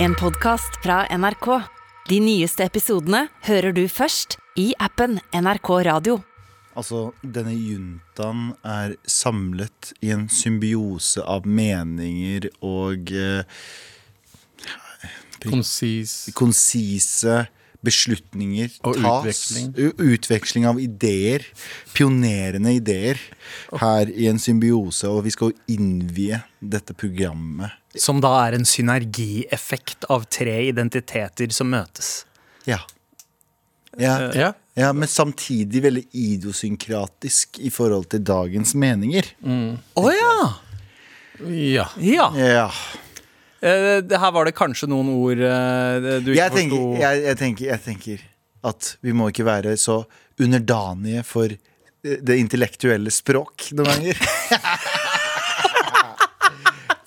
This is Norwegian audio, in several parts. En podcast fra NRK. De nyeste episodene hører du først i appen NRK Radio. Altså, denne juntaen er samlet i en symbiose av meninger og eh, Konsis. konsise beslutninger. Og utveksling. U- Utveksling av ideer. Pionerende ideer her i en symbiose, og vi skal innvie dette programmet. Som da er en synergieffekt av tre identiteter som møtes. Ja. Ja, Ja. ja, men samtidig veldig idiosynkratisk i forhold til dagens meninger. Mm. Å ja! ja. Ja. Ja. Eh, det her var det kanskje noen ord eh, du ikke jeg tenker, forsto. jeg, jeg, tenker, jeg tenker at vi må ikke være så underdanige for eh, det intellektuelle språk noen ganger.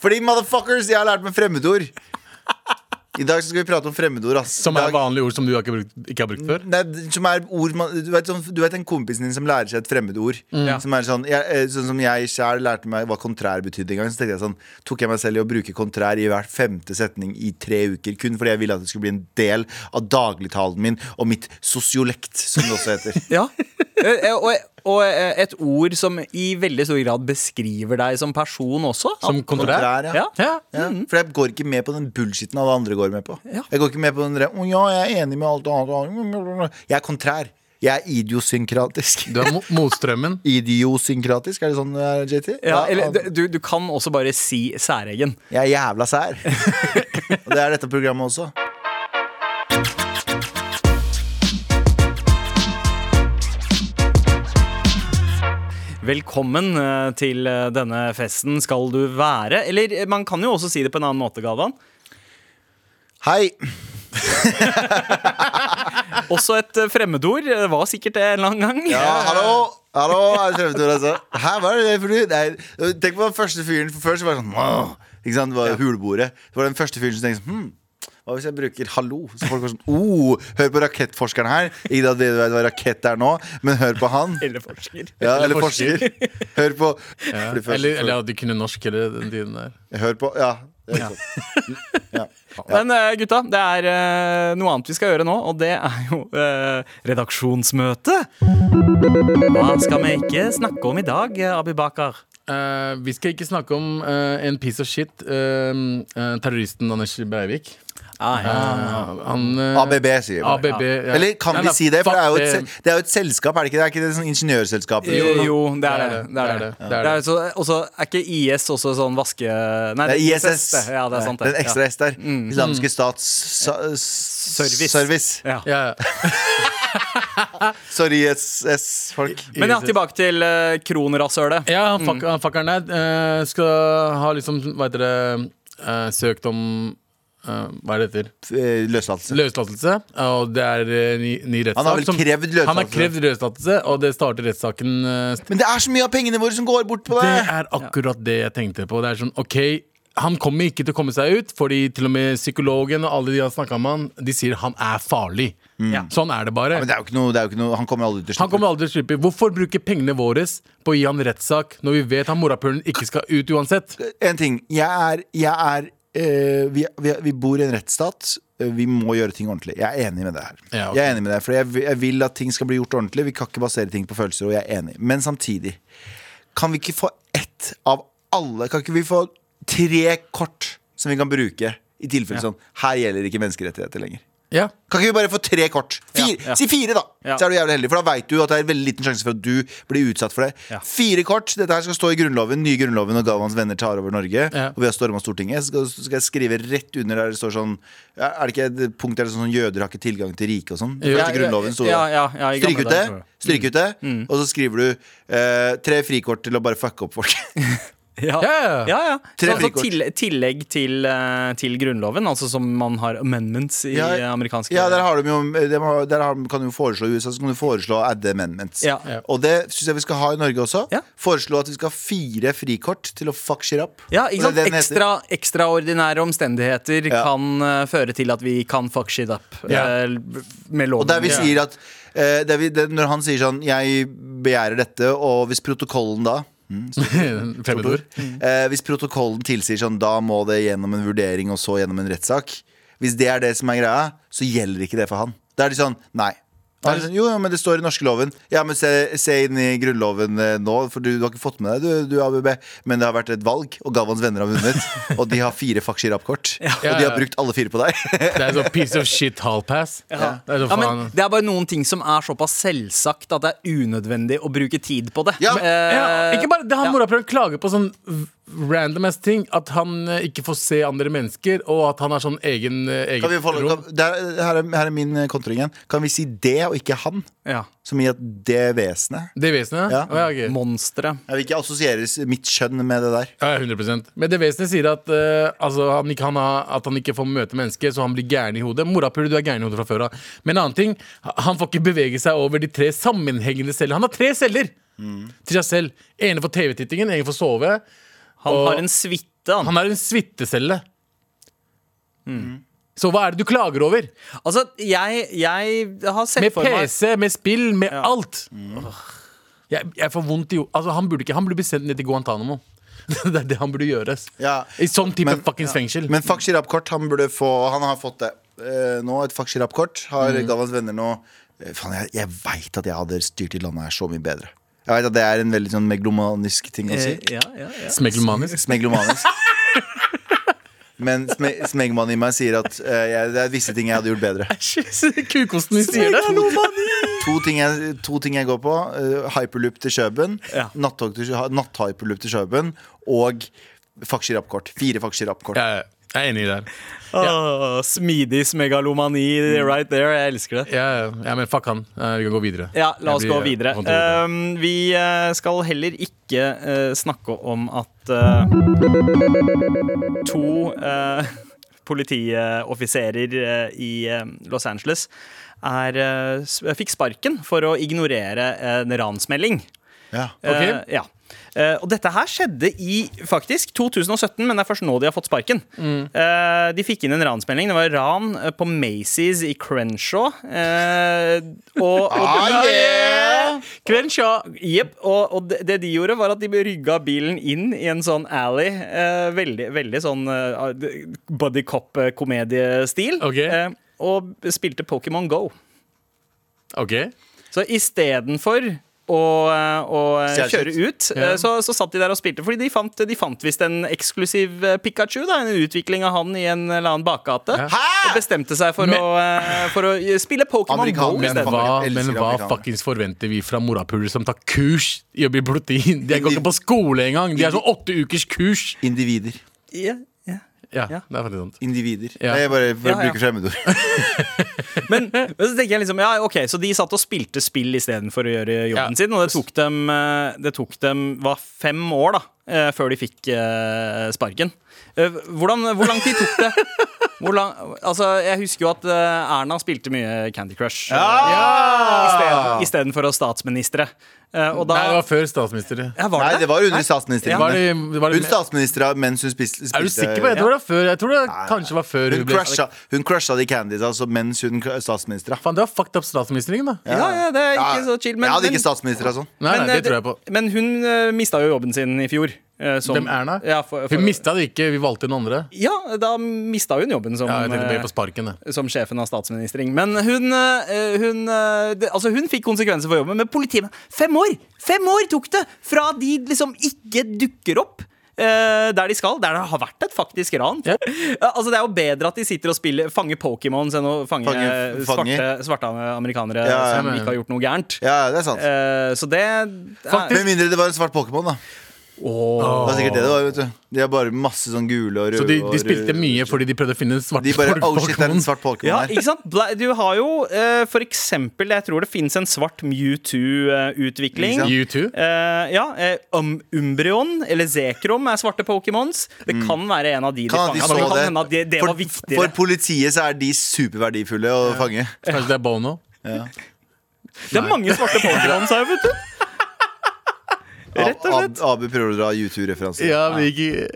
Fordi motherfuckers, jeg har lært meg fremmedord. I dag så skal vi prate om fremmedord. Ass. Som I er dag, Mm. vanlige ord som du ikke har brukt, ikke har brukt før? Nei, som er ord man, du, vet, sånn, du vet den kompisen din som lærer seg et fremmedord. Mm. Ja. Som er sånn, jeg, eh, sånn som jeg sjæl lærte meg hva kontrær betydde en gang. Så tenkte jeg sånn, tok jeg meg selv i å bruke kontrær i hver femte setning i tre uker. Kun fordi jeg ville at det skulle bli en del av dagligtalen min og mitt sosiolekt, som det også heter. Ja. Eh, eh, Og, og eh, et ord som i veldig stor grad beskriver deg som person også. Som kontrær? Kontrær, ja. Ja. Ja, for jeg går ikke med på den bullshitten alle andre går med på. Ja. Jeg går ikke med på den der, «Å ja, jeg er enig med alt annet. Jeg er kontrær. Jeg er idiosynkratisk. Du er mo motstrømmen. Idiosynkratisk, er det sånn det er, JT? Ja, eller du- du, du kan også bare si særegen. Jeg er jævla sær. og det er dette programmet også. Velkommen eh, til eh, denne festen skal du være. Eller eh, man kan jo også si det på en annen måte, Galvan. Hei. Også et eh, fremmedord. eh, Var sikkert det en eller annen gang. Ja, hallo. Hallo, er det Fremmedord, altså. Hæ, hva er det for noe? Nei, Tenk på den første fyren for før, så var det sånn «Åh», Ikke sant, det var huleboere. Det var den første fyren som tenkte sånn hm, hva hvis jeg bruker 'hallo'? Så folk var sånn oh, Hør på rakettforskeren her. Ikke at dere vet hva rakett er nå, men hør på han. Eller forsker. Ja, Eller eller forsker. forsker. Hør på Ja. For det første- Eller, eller at de kunne norsk eller den tiden der. Hør på Ja. det er sant. ja. Men eh, gutta, det er eh, noe annet vi skal gjøre nå, og det er jo eh, redaksjonsmøte. Hva skal vi ikke snakke om i dag, eh, Abibakar? Eh, vi skal ikke snakke om eh, en piece of shit. eh, eh, terroristen Anders Breivik. Ah, Eh, han eh, ABB, sier vi. bare. ABB, ja. Eller kan Nei, vi nei, si det? For fuck det er jo et, se- det er jo et selskap, er det ikke det? Er ikke det sånn ingeniørselskap? Eh, Jo, eller noe? jo, det er det. Det er det. Det er så, også, er ikke IS også sånn vaske... Nei, Det er ISS. det. Ja, det er sant. det. Den ekstra Ja. Mm. S der. Islamske stats sa- Service. service. Ja. Ja, ja. Sorry, SS-folk. Men ja, tilbake til uh, kronrasølet. Ja, han fuck, han fuckeren der eh, skal ha liksom, hva heter det, eh, søkt om eh, Hva er det heter? eh, Løslatelse. Løslatelse. Og det er eh, ny, ny rettssak. Han har vel som- krevd løslatelse. Han har krevd løslatelse, og det starter rettssaken eh, Men det er så mye av pengene våre som går bort på Det det! er akkurat det jeg tenkte på. Det er sånn, ok han kommer ikke til å komme seg ut, fordi til og med psykologen og alle de har snakka med han, de sier han er farlig. Ja. Sånn er det bare. Mm. Men det er jo ikke noe, det er jo ikke noe Han kommer aldri til Han slutt. kommer aldri til å slippe. Hvorfor bruke pengene våre på å gi han rettssak, når vi vet han morapuleren ikke skal ut uansett? En ting. Jeg er, jeg er eh, vi, vi, vi bor i en rettsstat. Eh, Vi må gjøre ting ordentlig. Jeg er enig med det her. Ja, ok. Jeg er enig med det her, For jeg, vil- jeg vil at ting skal bli gjort ordentlig. Vi kan ikke basere ting på følelser. Og jeg er enig. Men samtidig, kan vi ikke få ett av alle? Kan ikke vi få tre kort som vi kan bruke i tilfelle sånn Her gjelder ikke menneskerettigheter lenger. Ja. Kan ikke vi bare få tre kort? Fire, Ja, ja. Si fire, da! Ja. Så er du jævlig heldig, for da veit du at det er veldig liten sjanse for at du blir utsatt for det. Ja. Fire kort. Dette her skal stå i Grunnloven, nye Grunnloven når Galvans venner tar over Norge. Ja. Og vi har storma Stortinget. Så skal, så skal jeg skrive rett under der det står sånn Er det ikke et punkt der det står sånn jøder har ikke tilgang til riket og sånn? Ja, Første Grunnloven sto det. Ja, ja, ja, i gamle Stryk ut det. dager, Mm. tror jeg. Stryk ut det. Og så skriver du eh, tre frikort til å bare fucke opp folk. Ja, Ja, ja. ja, ja. Tre Så, altså, frikort. til, tillegg til, eh, til grunnloven, altså som man har amendments i Ja, eh, amerikanske Ja, der, har de jo, de har, der har, kan du foreslå i USA, så kan du foreslå å adde amendments. Ja. Ja. Og det syns jeg vi skal ha i Norge også. Ja. Foreslå at vi skal ha fire frikort til å fuck shit up. Ja, ikke Og det sant? er det den heter. Ekstra, ekstraordinære omstendigheter Ja. kan eh, føre til at vi kan fuck shit up Ja. eh, med loven. Og der vi Ja. sier at eh, der vi, det, Når han sier sånn Jeg begjærer dette, og hvis protokollen da Fremmedord. Mm. eh, Hvis protokollen tilsier sånn Da må det gjennom en vurdering og så gjennom en rettssak. Hvis det er det som er greia, så gjelder ikke det for han. Da er de sånn Nei. Da er de sånn, jo, jo, men det står i norskeloven. Ja, men se, se inn i Grunnloven eh, nå, for du, du har ikke fått med deg du, du ABB. Men det har vært et valg, og Galvans venner har vunnet. og de har fire Fakshir Rapp-kort. Og de har ja. brukt alle fire på deg. Det er sånn piece of shit hall pass. Det er så Ja, men faen. det er bare noen ting som er såpass selvsagt at det er unødvendig å bruke tid på det. Ja. Eh, Ja, ikke bare det, Han moraprøven klager på sånn random ass ting. At han eh, ikke får se andre mennesker, og at han har sånn egen, eh, Kan eget vi få, rom. kan, det er, her, er, her er min eh, kontring igjen. Kan vi si det, og ikke han? ja. Som i at det vesenet. Det vesenet? Ja. Å, Ja. ok. Monstre. Jeg vil ikke assosiere mitt kjønn med det der. Ja, 100 Men det vesenet sier at, eh, altså, han ikke, han har, at han ikke får møte mennesker, så han blir gæren i hodet. Morapuler, du er gæren i hodet fra før av. Men en annen ting, han får ikke bevege seg over de tre sammenhengende celler. Han har tre celler Mm. til seg selv. Ene for TV-tittingen, ene for sove. Han Og- har en suite, han. Han har en suitecelle. Mm. Så hva er det du klager over? Altså, jeg, jeg har sett Med for meg PC, med spill, med alt. Jeg, jeg får vondt i jo- altså, han, burde ikke, han burde bli sendt ned til Guantánamo. det er det han burde gjøres. Ja. I sånn type Men- fuckings fengsel. Men Fakshir Rapp-kort, han burde få Han har fått det eh, nå. Et Fakshir Rapp-kort har Mhm. Galvans venner nå. Eh, Faen, jeg, jeg veit at jeg hadde styrt i landet her så mye bedre. Jeg vet at det er en veldig sånn meglomanisk ting å si. Eh, ja, ja, ja. Smeglomanisk. Smeglomanisk. Men sme, smegmannen i meg sier at eh, jeg, det er visse ting jeg hadde gjort bedre. Kukosten din sier det. To ting jeg, to ting jeg går på. eh, hyperloop til Kjøben. Ja. Nattog til Kjø- Natt-hyperloop til Kjøben. Og Fakshir Rapp-kort. Fire Fakshir Rapp-kort. Jeg er enig i det. her. Åh, smidig megalomani Mm. right there. Jeg elsker det. Ja, ja, men fuck han. Eh, Vi kan gå videre. Ja, la oss Jeg blir, gå eh, videre. håndtere det. Um, vi eh, skal heller ikke eh, snakke om at eh, to eh, politioffiserer eh, i eh, Los Angeles er, eh, s- fikk sparken for å ignorere en ransmelding. Ja. Eh, ja. Eh, og dette her skjedde i faktisk 2017, men det er først nå de har fått sparken. Eh, de fikk inn en ransmelding. Det var ran eh, på Macy's i Crenshaw. Eh, og, og, Ah, yeah! Crenshaw! Jep, og, og det, det de gjorde, var at de rygga bilen inn i en sånn alley. eh, veldig, veldig sånn eh, buddy cop-komediestil. Ok. eh, og spilte Pokémon Go. Ok. Så istedenfor å, eh, å Stjele kjøre ut, eh, Ja. så, så satt de der og spilte. Fordi de fant, de fant visst en eksklusiv eh, Pikachu, da, en utvikling av han i en eller annen bakgate. Ja. Og bestemte seg for, å, eh, for å spille Pokémon Go Amerikaner. Men Elsker hva, amerikanere. men hva fuckings forventer vi fra morapuler som tar kurs i å bli plutin? De går ikke på skole engang! De er sånn åtte ukers kurs! Individer. Ja, ja. Ja, Ja. det er faktisk sant. Individer. Ja. Jeg bare, bare Ja, ja. bruker fremmedord. Men, men så tenker jeg liksom Ja, ok, så de satt og spilte spill istedenfor å gjøre jobben Ja. sin. Og det tok dem eh, Det tok dem var fem år, da, eh, før de fikk eh, sparken. Eh, Hvordan, hvor lang tid tok det? Hvor lang, altså, jeg husker jo at eh, Erna spilte mye Candy Crush. eh, Ja! Istedenfor å statsministre. Eh, Og da Nei, det var før statsminister. ja, var Nei, det det var under statsministeren. Var det, var Hun det, statsministera mens hun spiste, er du spilte- sikker på det? Jeg tror det var før. Jeg tror det kanskje var før Hun hun ble crusha, hun crusha de candies altså, mens hun kra- statsministra. Faen, det var fucked up statsministeren, da. Ja, ja, det er ikke Ja, så chill. Men, jeg hadde men- ikke statsministra sånn. Nei, men, nei, det eh, tror jeg på. men hun uh, mista jo jobben sin i fjor. eh, som- Hvem Erna? Ja, for, for, Hun mista det ikke, vi valgte noen andre. ja, da mista hun jobben som Ja, jeg tenkte eh, mer på sparken, jeg. som sjefen av statsministering. Men hun, eh, hun, eh, det, altså hun fikk konsekvenser for jobben, men politiet Fem år! Fem år tok det! Fra de liksom ikke dukker opp. eh, der de skal, der det har vært et faktisk ran. Ja. Eh, altså Det er jo bedre at de sitter og spiller fanger Pokémons enn å fange, Fange- fange. Svarte, svarte amerikanere Ja, som ja. ikke har gjort noe gærent. Ja, det er sant. Eh, så det Med mindre det var en svart Pokémon, da. Det var sikkert det det var, vet du. De har bare masse sånn gule og røde Så de, og de røde- spilte mye fordi de prøvde å finne en svart De bare Oh shit, det er en Pokémon. svart Pokémon Ja, her. ikke sant? Bla- Du har jo eh, for eksempel Jeg tror det finnes en svart Mewtwo-utvikling. U2? Eh, ja, eh, um, Umbreon eller Zekrom er svarte Pokémons. Det kan være en av de de Mm. Kan at de fanga. men det så kan det. hende at det, det var For, viktigere. for politiet så er de superverdifulle å fange. Kanskje det er Bono? det er mange svarte Pokémons her, vet du. Rett og slett. Ab- Abu prøver å dra U2-referanse. Ja, vi ikke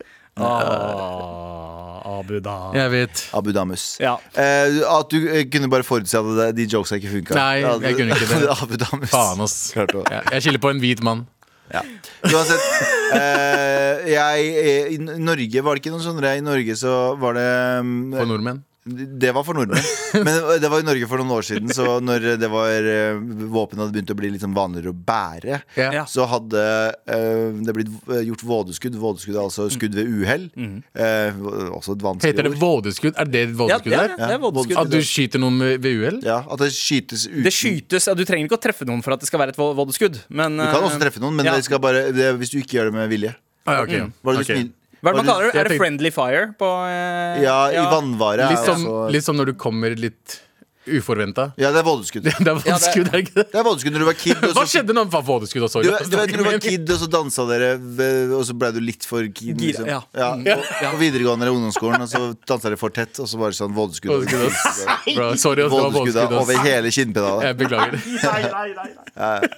Ah, Abu da. Jeg vet. Abu Damus. Ja. Eh, at du eh, kunne bare forutse at det- de jokesa ikke funka. Nei, jeg kunne ikke det. Abu Damus. Faen, ass. Klarte å- Jeg, jeg skiller på en hvit mann. Uansett. eh, jeg, eh, I Norge var det ikke noe sånn I Norge så var det mm, eh, På nordmenn. Det var for nordmenn. Men det var i Norge for noen år siden. Så når det var eh, våpen hadde begynt å bli litt sånn vanligere å bære, Ja. Ja. så hadde eh, det blitt eh, gjort vådeskudd. Vådeskudd er altså skudd ved uhell. Eh, også et vanskelig Heter det vådeskudd? Er det vådeskudd Ja, der? det er det. Det er vådeskudd. At du skyter noen ved ved uhell? Ja, At det skytes uten Det skytes, ja, Du trenger ikke å treffe noen for at det skal være et vå- vådeskudd. Men, Du kan også eh, treffe noen, men ja. det skal bare, det, er hvis du ikke gjør det med vilje. Ah, ja, ok. Mm. Var det Ok. du snill? Hva er det var man du- kaller det? jeg Er det tenkte- friendly fire? På, eh, Ja, i vannvare. er Litt som, også- litt som når du kommer litt uforventa. Ja, det er vådeskudd. Det Det er vådeskudd, er det ikke det? er vådeskudd når du var kid. og Hva så- skjedde når han var vådeskudd også? Du, Ja, du vet når du var men- kid, og så dansa dere, ved- og så blei du litt for keen. Gira, Liksom. ja. Og, og videregående eller ungdomsskolen, og så dansa dere for tett, og så bare sånn vådeskudd. Vådeskudd, ass. Bra, Sorry, ass, det var Vådeskudd vådeskudd. da, ass. over hele kinnpedalet. Jeg beklager.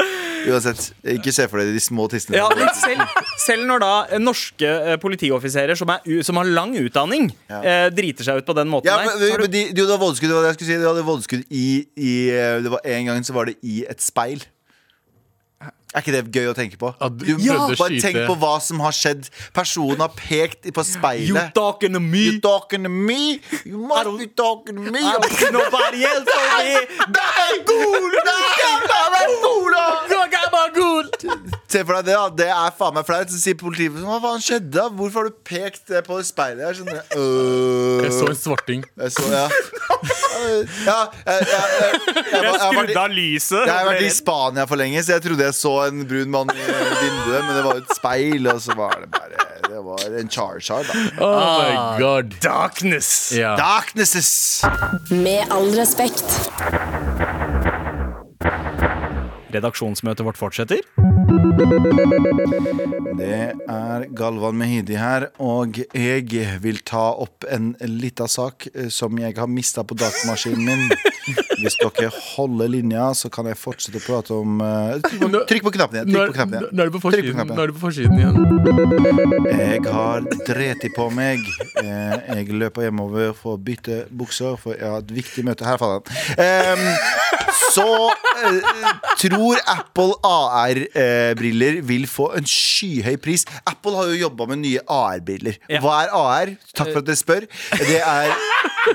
Uansett, ikke se for deg de små tissene. Ja, men selv, selv når da eh, norske eh, politioffiserer som, er, u- som har lang utdanning, Ja. eh, driter seg ut på den måten Ja, der, men, så har men du- de, jo, det var vådeskudd, det var det jeg skulle si. De hadde vådeskudd i, i eh, Det var En gang så var det i et speil. Er ikke det gøy å tenke på? At du prøvde å bare skyte- tenk på hva som har skjedd. Personen har pekt i- på speilet. You talking to me? You talking to me? You must be talking to me. I don't- Nobody else over here. Se for deg det, da. Det er faen meg flaut. Så sier politiet hva faen skjedde? da? Hvorfor har du pekt det på speilet? her? Sånn, øh. Jeg så en svarting. Jeg så, ja. ja jeg, jeg, jeg, jeg, jeg, jeg, har vært i- av lyset. jeg har vært i Spania for lenge, så jeg trodde jeg så en brun mann i vinduet, men det var jo et speil, og så var det bare Det var en char-char, da. Oh my god. Darkness. Ja. Darknesses! Med all respekt. Redaksjonsmøtet vårt fortsetter. Det er Galvan Mehidi her, og jeg vil ta opp en lita sak eh, som jeg har mista på datamaskinen min. Hvis dere holder linja, så kan jeg fortsette å prate om eh, Trykk på, trykk på knappen igjen. Nå er Trykk på knappen nå- igjen. nå er du på Trykk på forsiden, knappen. nå er du på forsiden igjen. Jeg har dreti på meg. Eh, Jeg løper hjemover for å bytte bukser, for jeg har et viktig møte. Her faller den. Em, Så eh, tror Apple AR-briller vil få en skyhøy pris. Apple har jo jobba med nye AR-briller. Ja. Hva er AR? Takk for at dere spør. Det er,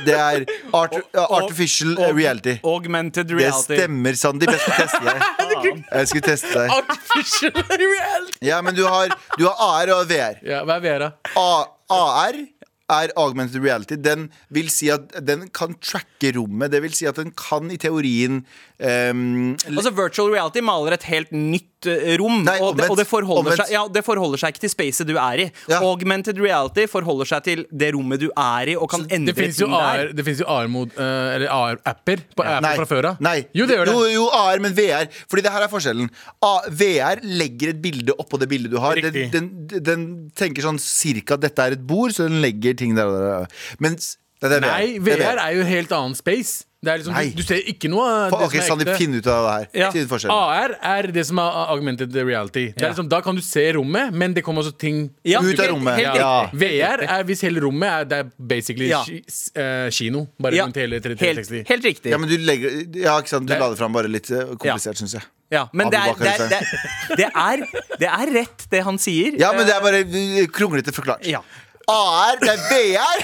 det er art, artificial Og- reality. Augmented Det reality. stemmer, Sandeep. Jeg skulle teste deg. Jeg skulle teste deg. Artificial reality. Ja, men du har, du har AR og VR. Ja, hva er Vera? A- AR er augmented reality. Den vil si at den kan tracke rommet. Det vil si at den kan i teorien ehm, l- Altså Virtual reality maler et helt nytt eh, rom. Nei, og det, og det, omvendt. forholder Omvendt. seg, ja, det forholder seg ikke til spacet du er i. Ja. Augmented reality forholder seg til det rommet du er i, og kan endre Det fins jo ting der. AR-mod, eh, eller AR-apper på Apple fra før av. Nei. Jo, det gjør det. Jo, jo, AR, men VR. Fordi det her er forskjellen. A VR legger et bilde oppå det bildet du har. Den, Riktig. den, den tenker sånn cirka at dette er et bord, så den legger ting der. der, der. Mens Nei, det er Nei, Det er VR er jo helt annen space. Det er liksom, Nei. du, du ser ikke noe av det Ok, som er Sandeep, ekte. finn ut av det her. Ja. Finn ut forskjellen. AR er det som er augmented reality. Det Ja. er liksom, da kan du se rommet, men det kommer også ting Ja, Ut av helt- rommet. helt Ja. riktig. VR er hvis hele rommet er Det er basically Ja. ki- s- eh, kino. Bare Ja, rundt hele helt, 360. helt riktig. Ja, men du legger Ja, ikke sant. Du Det- la det fram bare litt eh, komplisert, syns jeg. Ja, men det er, Abubakar det, er, det, er, det, er, det er rett, det han sier. Ja, men det er bare eh, kronglete forklart. Ja. AR, det er VR.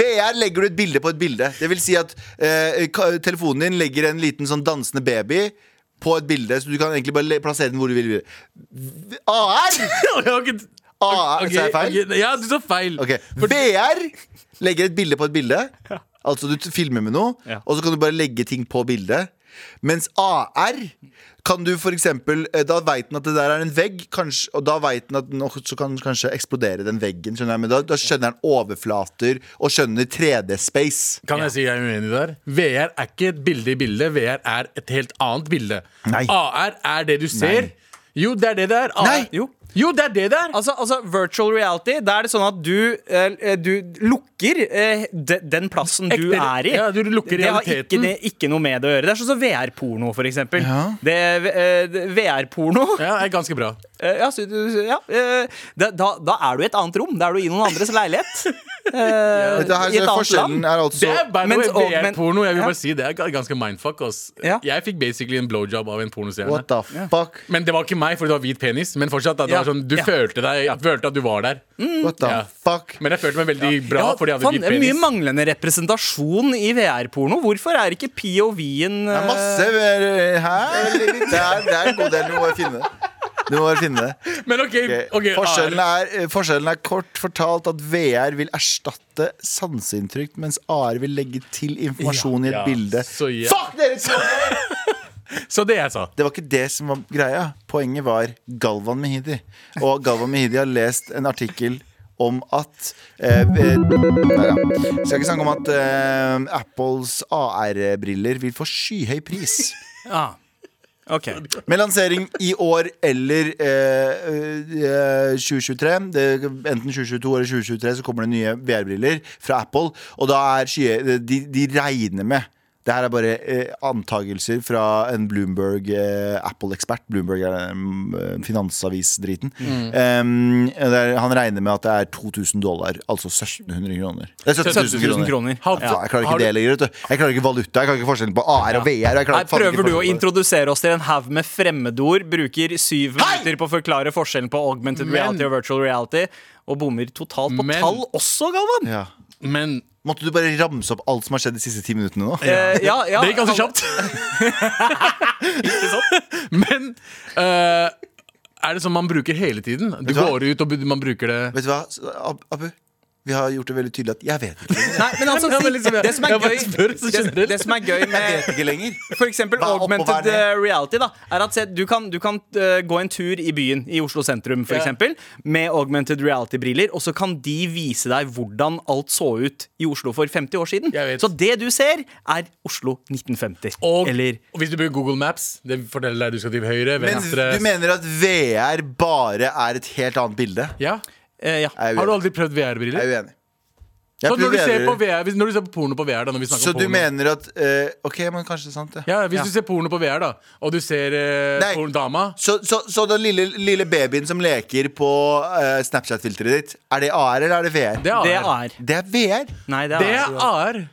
VR legger du et bilde på et bilde. Det vil si at eh, ka- telefonen din legger en liten sånn dansende baby på et bilde, så du kan egentlig bare le- plassere den hvor du vil. V- AR! AR, Ok, Sa jeg feil? ok, Ja, du sa feil. Ok. VR legger et bilde på et bilde. Altså du t- filmer med noe, Ja. og så kan du bare legge ting på bildet. Mens AR kan du for eksempel eh, Da veit den at det der er en vegg, kanskje, og da veit den at den også kan kanskje eksplodere den veggen. Skjønner jeg, men da, da skjønner den overflater og skjønner 3D-space. Kan jeg si jeg er uenig der? VR er ikke et bilde i bildet. VR er et helt annet bilde. Nei. AR er det du ser. Jo, det er det det er. AR. Nei. Jo. jo, det er det det er. Altså, altså virtual reality, da er det sånn at du, eh, du lukker eh, de, den plassen du Ekte- er i. ja, du lukker det har realiteten. ikke, det, er ikke noe med det å gjøre. Det er sånn som VR-porno, for eksempel. Ja. Det er, eh, det- VR-porno Ja, er ganske bra. eh, ja, så du- ja, eh, da, da, da er du i et annet rom. Da er du i noen andres leilighet. Eh, Dette her, I så et annet forskjellen land. er altså Det er by the Mens- way, og- men- VR-porno. Jeg vil Ja. bare si Det er ganske mindfuck. Ass. Ja. Jeg fikk basically en blowjob av en pornostjerne. What the fuck? Men det var ikke meg, for det var hvit penis. Men fortsatt, da, det er sånn, du følte, deg, følte at du var der. What the Ja. fuck? Men jeg følte meg veldig bra, Mm. Ja, fordi jeg hadde faen, hvit det er mye penis. manglende representasjon i VR-porno. Hvorfor er ikke POV-en Det er masse mer her. Det er, det er en god del. Du må bare finne det. Du må bare finne det. Men ok, Ok, ok, ah, forskjellen, Ar- er, eh, forskjellen er kort fortalt at VR vil erstatte sanseinntrykk, mens AR vil legge til informasjon i et Ja, bilde. så ja. Fuck dere to! Så det jeg sa. Det var ikke det som var greia. Poenget var Galvan Mehidi. Og Galvan Mehidi har lest en artikkel om at eh, eh, nei, ja. Skal ikke snakke om at eh, Apples AR-briller vil få skyhøy pris. Ah. Ok. Med lansering i år eller eh, eh, 2023 det, Enten 2022 eller 2023 Så kommer det nye VR-briller fra Apple Og da er skye, de, de regner med det her er bare eh, antagelser fra en Bloomberg eh, Apple-ekspert Bloomberg er mm, eh, finansavis-driten Em, der, Han regner med at det er 2000 dollar Altså 1700 kroner Det er 17 000 000 kroner, kroner. Har- Ja, jeg klarer ikke har du- det lenger vet du. Jeg klarer ikke valuta, jeg klarer ikke forskjellen på AR og VR og jeg klarer Her faen ikke prøver du å forskjellen på det. introdusere oss til en haug med fremmedord, bruker syv minutter på å forklare forskjellen på augmented Men- reality og virtual reality, og bommer totalt på Men- tall også, Galvan! ja. Men Måtte du bare ramse opp alt som har skjedd de siste ti minuttene nå? Eh, ja, ja, det gikk ganske Galvan- kjapt. Men eh, er det sånn man bruker hele tiden? Du Vet du hva? går ut og bu- man bruker det Vet du hva, Ab Abu? Vi har gjort det veldig tydelig at jeg vet ikke, Nei, men altså, Ja, men liksom, det som er jeg bare gøy spør så det, generelt. det som er gøy med ikke lenger. For eksempel Hva er opp og hva er augmented ned? eh, reality da Er at se, du kan, du kan eh, gå en tur i byen I Oslo sentrum for Ja. eksempel Med augmented reality briller Og så kan de vise deg hvordan alt så ut I Oslo for 50 år siden Jeg vet. Så det du ser er Oslo 1950 og, Eller og hvis du bruker Google Maps, det forteller deg du skal til høyre, Men venstre du mener at VR bare er et helt annet bilde? Ja? eh, ja. Jeg er Har du uenig. aldri prøvd VR-briller? Jeg er uenig. Jeg Så når du, ser på prøver- VR, hvis, når du ser på porno på VR, da når vi snakker så om du porno mener at eh, Ok, men kanskje det er sant, ja. Ja, Hvis du ser porno på VR, da, og du ser eh, Nei. porn- dama Så, så, så den lille, lille babyen som leker på eh, Snapchat-filteret ditt, er det AR eller er det VR? Det Det er AR. er Det er VR. Nei, det Det er, altså- er AR.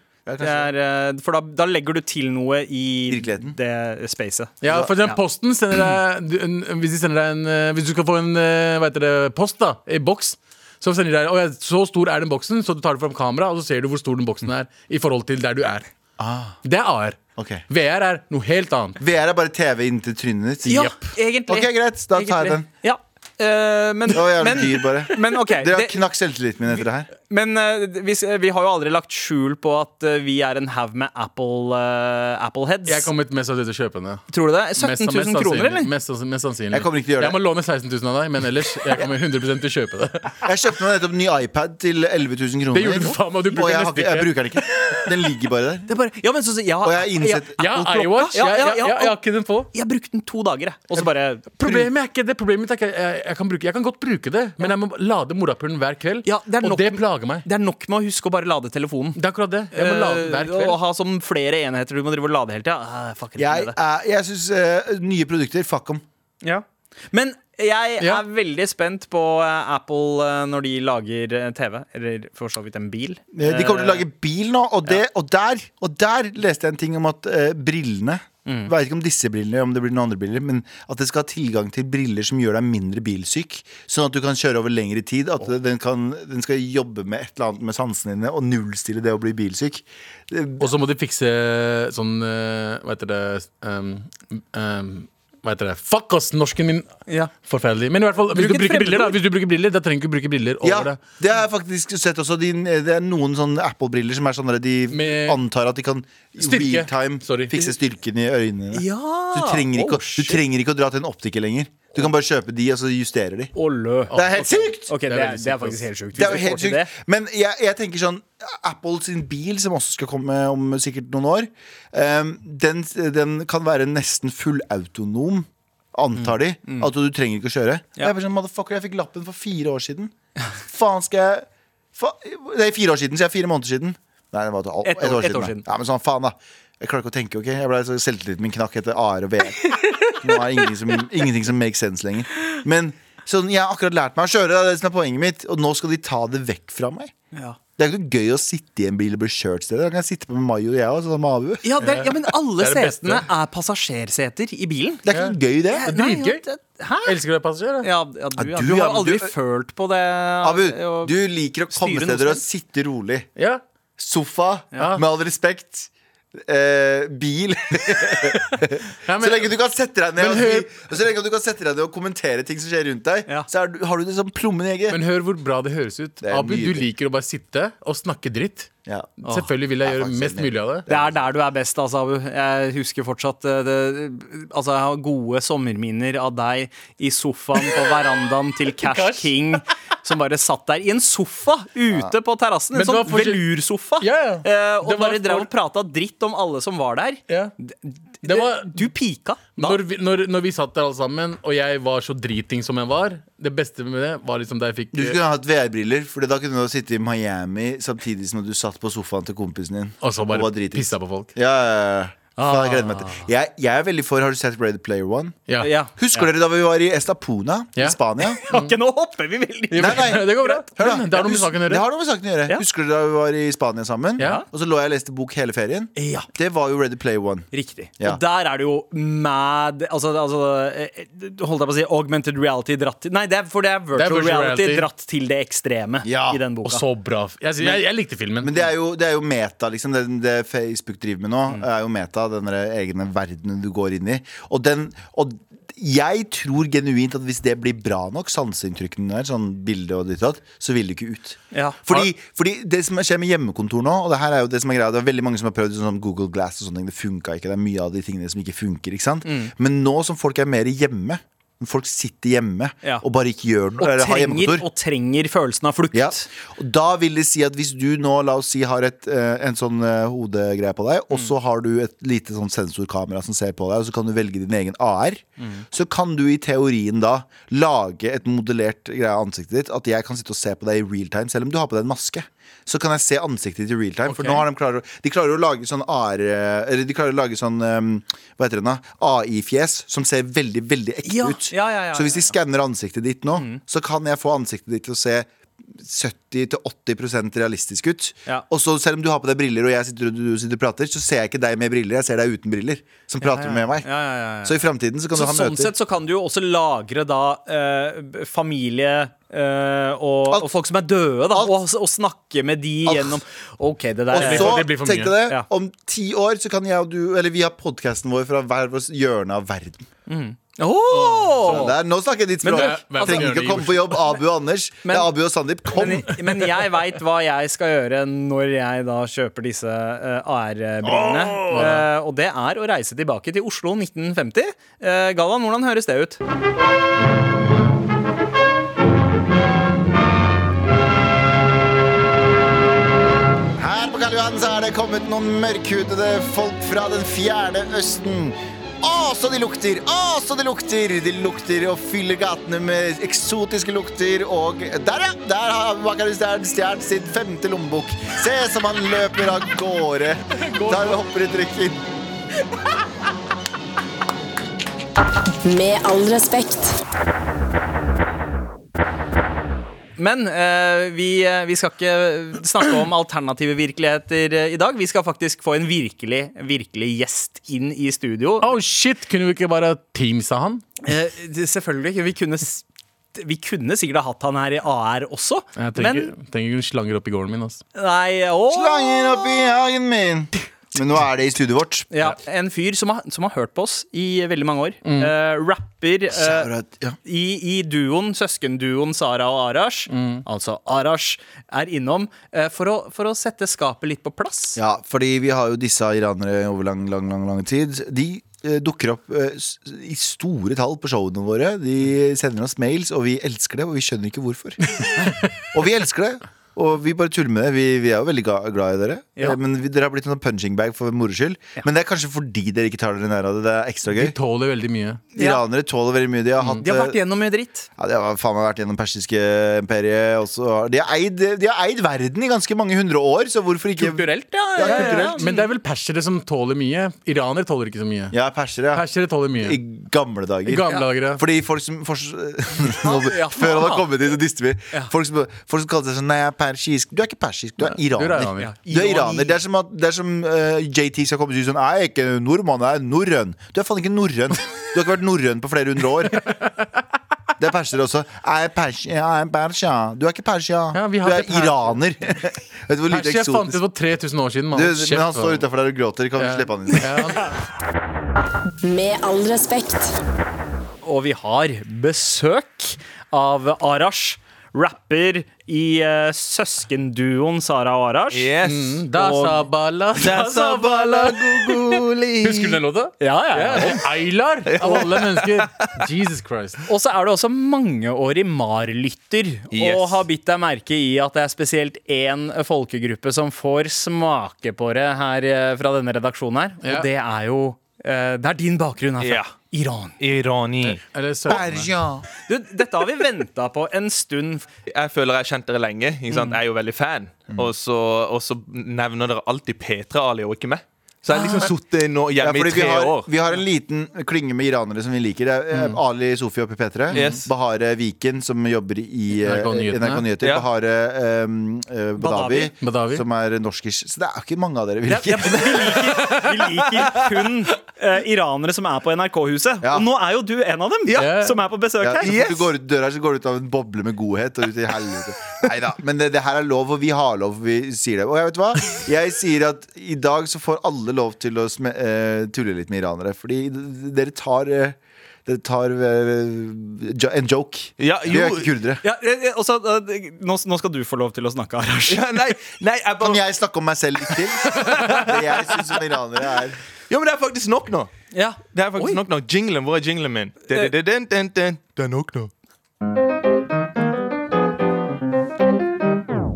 det er eh, For da, da legger du til noe i Virkeligheten. det spacet Ja, for Ja. eksempel Posten sender deg du- en, Hvis de sender deg en eh, Hvis du skal få en eh, hva heter det, post, da, i boks, så sender de deg «Å, ja, Så stor er den boksen, så du tar det fram kamera, og så ser du hvor stor den boksen er i forhold til der du er. Det er AR. Ok. VR er noe helt annet. VR er bare TV inntil trynet ditt. Ja, Japp. egentlig Ok, greit. Da tar jeg Egentlig. den. Ja eh, men, Det var jævlig men, dyr, bare. men ok Dere har det- knakk selvtilliten min etter det her. Men eh, vi, vi har jo aldri lagt skjul på at eh, vi er en haug med Apple, eh, Appleheads. Jeg kommer mest sannsynlig til å kjøpe den. ja. Tror du det? Mest- 17 mest 000 kroner, sannsynlig. eller? Mest, sanns- mest sannsynlig. Jeg kommer ikke til å gjøre Jeg må låne 16 000 av deg, men ellers jeg kommer 100 til å kjøpe det. Jeg kjøpte meg nettopp en ny iPad til 11 000 kroner. Det gjorde du faen meg, og du bruker og jeg, har den ikke- jeg nesten bruker den ikke. Den ligger bare der. Det er bare, ja, men så, så, ja, Og jeg har innsett- ja, Ja, Apple-klokka. iWatch. Ja, ja, Jeg, jeg, jeg, jeg har ikke den på. Jeg brukte den to dager, jeg. Og så bare Problemet er ikke det. Problemet er ikke jeg, jeg, kan bruke, jeg kan godt bruke det, men jeg må lade morapulen hver kveld. Ja, det er og nok- det plager meg. Det er nok med å huske å bare lade telefonen. Det er akkurat det. Jeg må lade den hver Eh, kveld. og ha som flere enheter du må drive og lade hele tida. Eh, fucker ikke Jeg, med det. er- jeg syns nye produkter Fuck om. Men jeg Ja. er veldig spent på eh, Apple eh, når de lager eh, TV, eller for så vidt en bil. Eh, De kommer til å lage bil nå, og, det, og, der, og der leste jeg en ting om at eh, brillene Mm. Jeg vet ikke om disse brillene, om det blir noen andre briller Men at det skal ha tilgang til briller som gjør deg mindre bilsyk. Sånn at du kan kjøre over lengre tid. At den, kan, den skal jobbe med et eller annet med sansene dine og nullstille det å bli bilsyk. Det- Og så må de fikse sånn eh, Hva heter det um, um, Hva heter det? Fuck oss, norsken min! Ja. Forferdelig. Men i hvert fall, hvis Bruk du et bruker fremmedord. briller, da, hvis du bruker briller, da trenger du ikke bruke briller over Ja, det. det har jeg faktisk sett også. De, det er noen sånne Apple-briller som er sånn at de Med- antar at de kan i Styrke. real-time Sorry. Oh, fikse styrken i øynene. Ja. Så du, trenger ikke, å- du trenger ikke å dra til en optiker lenger. Du kan bare kjøpe de, og så justerer Oh, de. Ollø. Det er helt sykt! Ok, det Det er er, veldig det er sykt, faktisk ass. helt sjukt. Hvis Det er vi jo får helt til det. sykt. Men jeg, jeg tenker sånn Apple sin bil, som også skal komme om sikkert noen år, ehm, den, den kan være nesten fullautonom. Mm. Antar de. At du trenger ikke å kjøre. Jeg, er bare sånn, motherfucker, jeg fikk lappen for fire år siden. Faen skal jeg fa Det er fire år siden, så jeg er fire måneder siden. Nei, det var et, Et et, år- år, et år siden. siden. da. Ja, men sånn, faen da Jeg klarer ikke å tenke, ok? Jeg ble så selvtilliten min knakk etter AR og VR. Nå er ingenting som, ingenting som makes sense lenger. Men sånn, jeg har akkurat lært meg å kjøre, det er det som er poenget mitt. Og nå skal de ta det vekk fra meg. Ja. Det er jo ikke gøy å sitte i en bil og bli kjørt stedet. Da kan jeg sitte på med Mayo, jeg også, sammen med Abu. Ja, det, er- ja, men alle Det er det beste. setene er passasjerseter i bilen. Eh, Det er ikke noe gøy, det. dritgøy. ja, det, Hæ? Elsker du å være passasjer? da? Ja, ja, du, ja. du, du ja, har men aldri du- følt på det. eh, Abu, og- du liker å komme styre noe steder og selv. sitte rolig. Ja. Sofa, Ja. med all respekt. Eh, bil. Ja, så lenge du kan sette deg ned Men og, hør- si- og så lenge du kan sette deg ned og kommentere ting som skjer rundt deg, Ja. så er du, har du det som plommen i egget. Men hør hvor bra det høres ut. er Abu, du nydelig. liker å bare sitte og snakke dritt. Ja. Selvfølgelig vil jeg jeg er gjøre faktisk mest enig. mulig av det. Det er der du er best, altså, Abu. Jeg husker fortsatt eh, det, Altså, jeg har gode sommerminner av deg i sofaen på verandaen til Cash Cash. King. Som bare satt der i en sofa ute på terrassen. Men det En var sånn forskjell- velursofa. Ja, ja. eh, Og Det var bare drev for- og prata dritt om alle som var der. Ja. Det var, Eh, Du pika da. når, vi, når, når vi satt der alle sammen, og jeg var så driting som jeg var Det beste med det var liksom da jeg fikk Du skulle ha hatt VR-briller, for da kunne du sitte i Miami samtidig som du satt på sofaen til kompisen din. Og så bare var dritings. pissa på folk. Ja, ja, ja. Faen, jeg gleder meg til. Jeg, jeg er veldig for Har du sett Ready Player One? Ja. Ja. Husker dere da vi var i Estapona Ja. i Spania? Ok, nå hopper vi veldig Nei, nei. Det går bra. Hør da. Men Det har noe med saken å Det gjøre. har noe med saken å gjøre. Ja. Husker dere da vi var i Spania sammen? Ja. Og så lå jeg og leste bok hele ferien? Ja. Det var jo Ready Player One. Riktig. Ja. Og der er det jo mad Altså, altså eh, holdt jeg på å si augmented reality dratt til Nei, det er, for det er virtual, virtual reality, reality. dratt til det ekstreme Ja, i den Og boka. så bra. Jeg, jeg, jeg likte filmen. Men det er jo, det er jo meta, liksom. Det, det Facebook driver med nå, Mm. er jo meta. Den der egne verdenen du går inn i. Og, den, og jeg tror genuint at hvis det blir bra nok, sanseinntrykkene der, sånn bilde og ditt og datt, så vil det ikke ut. Ja. Fordi, fordi det som skjer med hjemmekontor nå, og det her er jo det som er greia, det er veldig mange som har prøvd sånn Google Glass og sånne ting, det funka ikke. Det er mye av de tingene som ikke funker, ikke sant. Mm. Men nå som folk er mer hjemme, folk sitter hjemme Ja. og bare ikke gjør noe, og, eller har trenger, hjemmekontor. og trenger følelsen av flukt. Ja. Og da vil det si at hvis du nå, la oss si, har et, eh, en sånn eh, hodegreie på deg, Mm. og så har du et lite sånn sensorkamera som ser på deg, og så kan du velge din egen AR, Mm. så kan du i teorien da lage et modellert greie av ansiktet ditt, at jeg kan sitte og se på deg i real time, selv om du har på deg en maske. Så kan jeg se ansiktet ditt i real time. For Ok. nå har de klarer, å- de klarer å lage sånn AR eh, Eller de klarer å lage sånn eh, Hva heter det da? AI-fjes som ser veldig, veldig ekte Ja. ut. Ja, ja, ja, så hvis ja, de ja. skanner ansiktet ditt nå, Mm. så kan jeg få ansiktet ditt til å se 70-80 realistisk ut. Ja. Og så selv om du har på deg briller, og jeg sitter og du sitter og prater, så ser jeg ikke deg med briller, jeg ser deg uten briller, som prater med meg. Ja, ja, ja, ja. Så i framtiden så kan Så du ha sånn møter. sett så kan du jo også lagre da eh, b- familie eh, og, Alt. og folk som er døde, da, Alt. og, og snakke med de Alt. gjennom OK, det der og er- så, det blir for tenk mye. deg det, Ja. om ti år så kan jeg og du Eller vi har podkasten vår fra hver vårt hjørne av verden. Åh! Der, nå snakker jeg ditt Men språk. det- men- Trenger ikke å komme på jobb, Abu og Anders. Men- det er Abu og Sandeep. Kom! Men, men jeg veit hva jeg skal gjøre når jeg da kjøper disse eh, AR-brillene. Eh, og det er å reise tilbake til Oslo 1950. Uh, Galvan, hvordan høres det ut? Her på Karl Johan så er det kommet noen mørkhudede folk fra den fjerne østen. Å, så de lukter! Å, så de lukter! De lukter og fyller gatene med eksotiske lukter. Og der, ja! Der har Abu Bakar Stern stjålet sin femte lommebok. Se som han løper av gårde. Der hopper i trykken. Med all respekt. Men eh, vi, eh, vi skal ikke snakke om alternative virkeligheter eh, i dag. Vi skal faktisk få en virkelig, virkelig gjest inn i studio. Oh shit, kunne vi ikke bare teamsa han? Eh, det- selvfølgelig ikke. Vi kunne, s- vi kunne sikkert ha hatt han her i AR også, Jeg trenger, men trenger ikke en slanger oppi gården min. ass. Nei, åh! Slangen oppi hagen min. Men nå er det i studioet vårt. Ja, en fyr som har, som har hørt på oss i veldig mange år. Eh, rapper eh, Shout-out, ja. i, i duoen, søskenduoen Sara og Arash, altså Arash, er innom eh, for, å, for å sette skapet litt på plass. Ja, fordi vi har jo disse iranere over lang, lang, lang, lang tid. De eh, dukker opp eh, s- i store tall på showene våre. De sender oss mails, og vi elsker det, og vi skjønner ikke hvorfor. og vi elsker det. Og vi bare tuller med det. Vi, vi er jo veldig ga- glad i dere. Ja. Eh, Men vi, dere har blitt en punching bag for moro skyld. Men det er kanskje fordi dere ikke tar dere nær av det. Det er ekstra gøy. De tåler veldig mye. Ja. Mm. Iranere tåler veldig mye. De har hatt De har vært eh, gjennom mye dritt. ja, de har faen meg vært gjennom persiske imperiet. og så har- De har eid, de har eid verden i ganske mange hundre år, så hvorfor ikke Kulturelt, ja. Ja, ja, ja, ja. kulturelt. Men det er vel persere som tåler mye. Iranere tåler ikke så mye. Ja, persere. Ja. Persere I tåler mye. gamle dager. Gamle dager, ja. Fordi folk som fors- Nå- Ja. Før han har kommet hit, så dister vi. Ja. Folk som, folk som kalte seg sånn Nei, jeg er persisk. Du er ikke persisk, du er iraner. Du er iraner. Du er iraner. Det er som, at, det er som eh, JT skal komme og si sånn Jeg er ikke nordmann, jeg er norrøn. Du er faen ikke norrøn. Du har ikke vært norrøn på flere hundre år. Det er persere også. Jeg er persia, jeg er persia. Du er ikke persia. Ja, vi du har er ikke per- iraner. Vet du hvor lite Persia fant ut eksotisk for 3000 år du, siden. mann. Kjeft, Men han står mann. utafor der og gråter. Kan du Ja. slippe han inn? Ja, han- Med all respekt. Og vi har besøk av Arash. Rapper i eh, søskenduoen Sara og Arash. Yes. Mm, Da sa balla, da sa balla Husker du den låta? Ja, ja, ja. Og Aylar, av alle mennesker. Jesus Christ. Og så er du også mangeårig MAR-lytter, og Yes. har bitt deg merke i at det er spesielt én folkegruppe som får smake på det her eh, fra denne redaksjonen her, og Ja. det er jo eh, Det er din bakgrunn herfra. Ja. Iran. Irani. Eller Sørlandet. Persia. Du, dette har vi venta på en stund. Jeg føler jeg har kjent dere lenge. Ikke sant? Jeg er jo veldig fan. Og, så, og så nevner dere alltid P3-Ali og ikke meg. Så jeg har liksom sittet nå Ja, hjemme fordi i vi tre har, år. Mm. vi har en liten klynge med iranere som vi liker. Det er eh, Ali Sofie oppe i P3. Yes. Bahare Viken, som jobber i eh, NRK Nyhetene. NRK Nyheter. Ja. Bahare ehm, eh, Badawi, Badawi. Badawi. som er norskish. Så det er ikke mange av dere vi liker. Vi liker kun eh, iranere som er på NRK-huset. Ja. Og nå er jo du en av dem Ja. som er på besøk Ja, så fort her. du går ut døra, så går du ut av en boble med godhet og ut i helvete. Neida, Men det, det her er lov, og vi har lov. Vi sier det. Og jeg vet hva? Jeg sier at i dag så får alle lov til å sme, eh, tulle litt med iranere. Fordi d- dere tar eh, dere tar eh, jo, en joke. Ja, Vi er jo. ikke kurdere. Ja, eh, eh, og så, eh, nå, nå skal du få lov til å snakke, Arash. Ja, nei, nei, jeg Kan bare jeg snakke om meg selv litt til? Det jeg syns om iranere er Ja, men det er faktisk nok nå. Ja. Det er faktisk nok nå. Jinglen, hvor er jinglen min? Det, det, det, den, den, den. det er nok nå.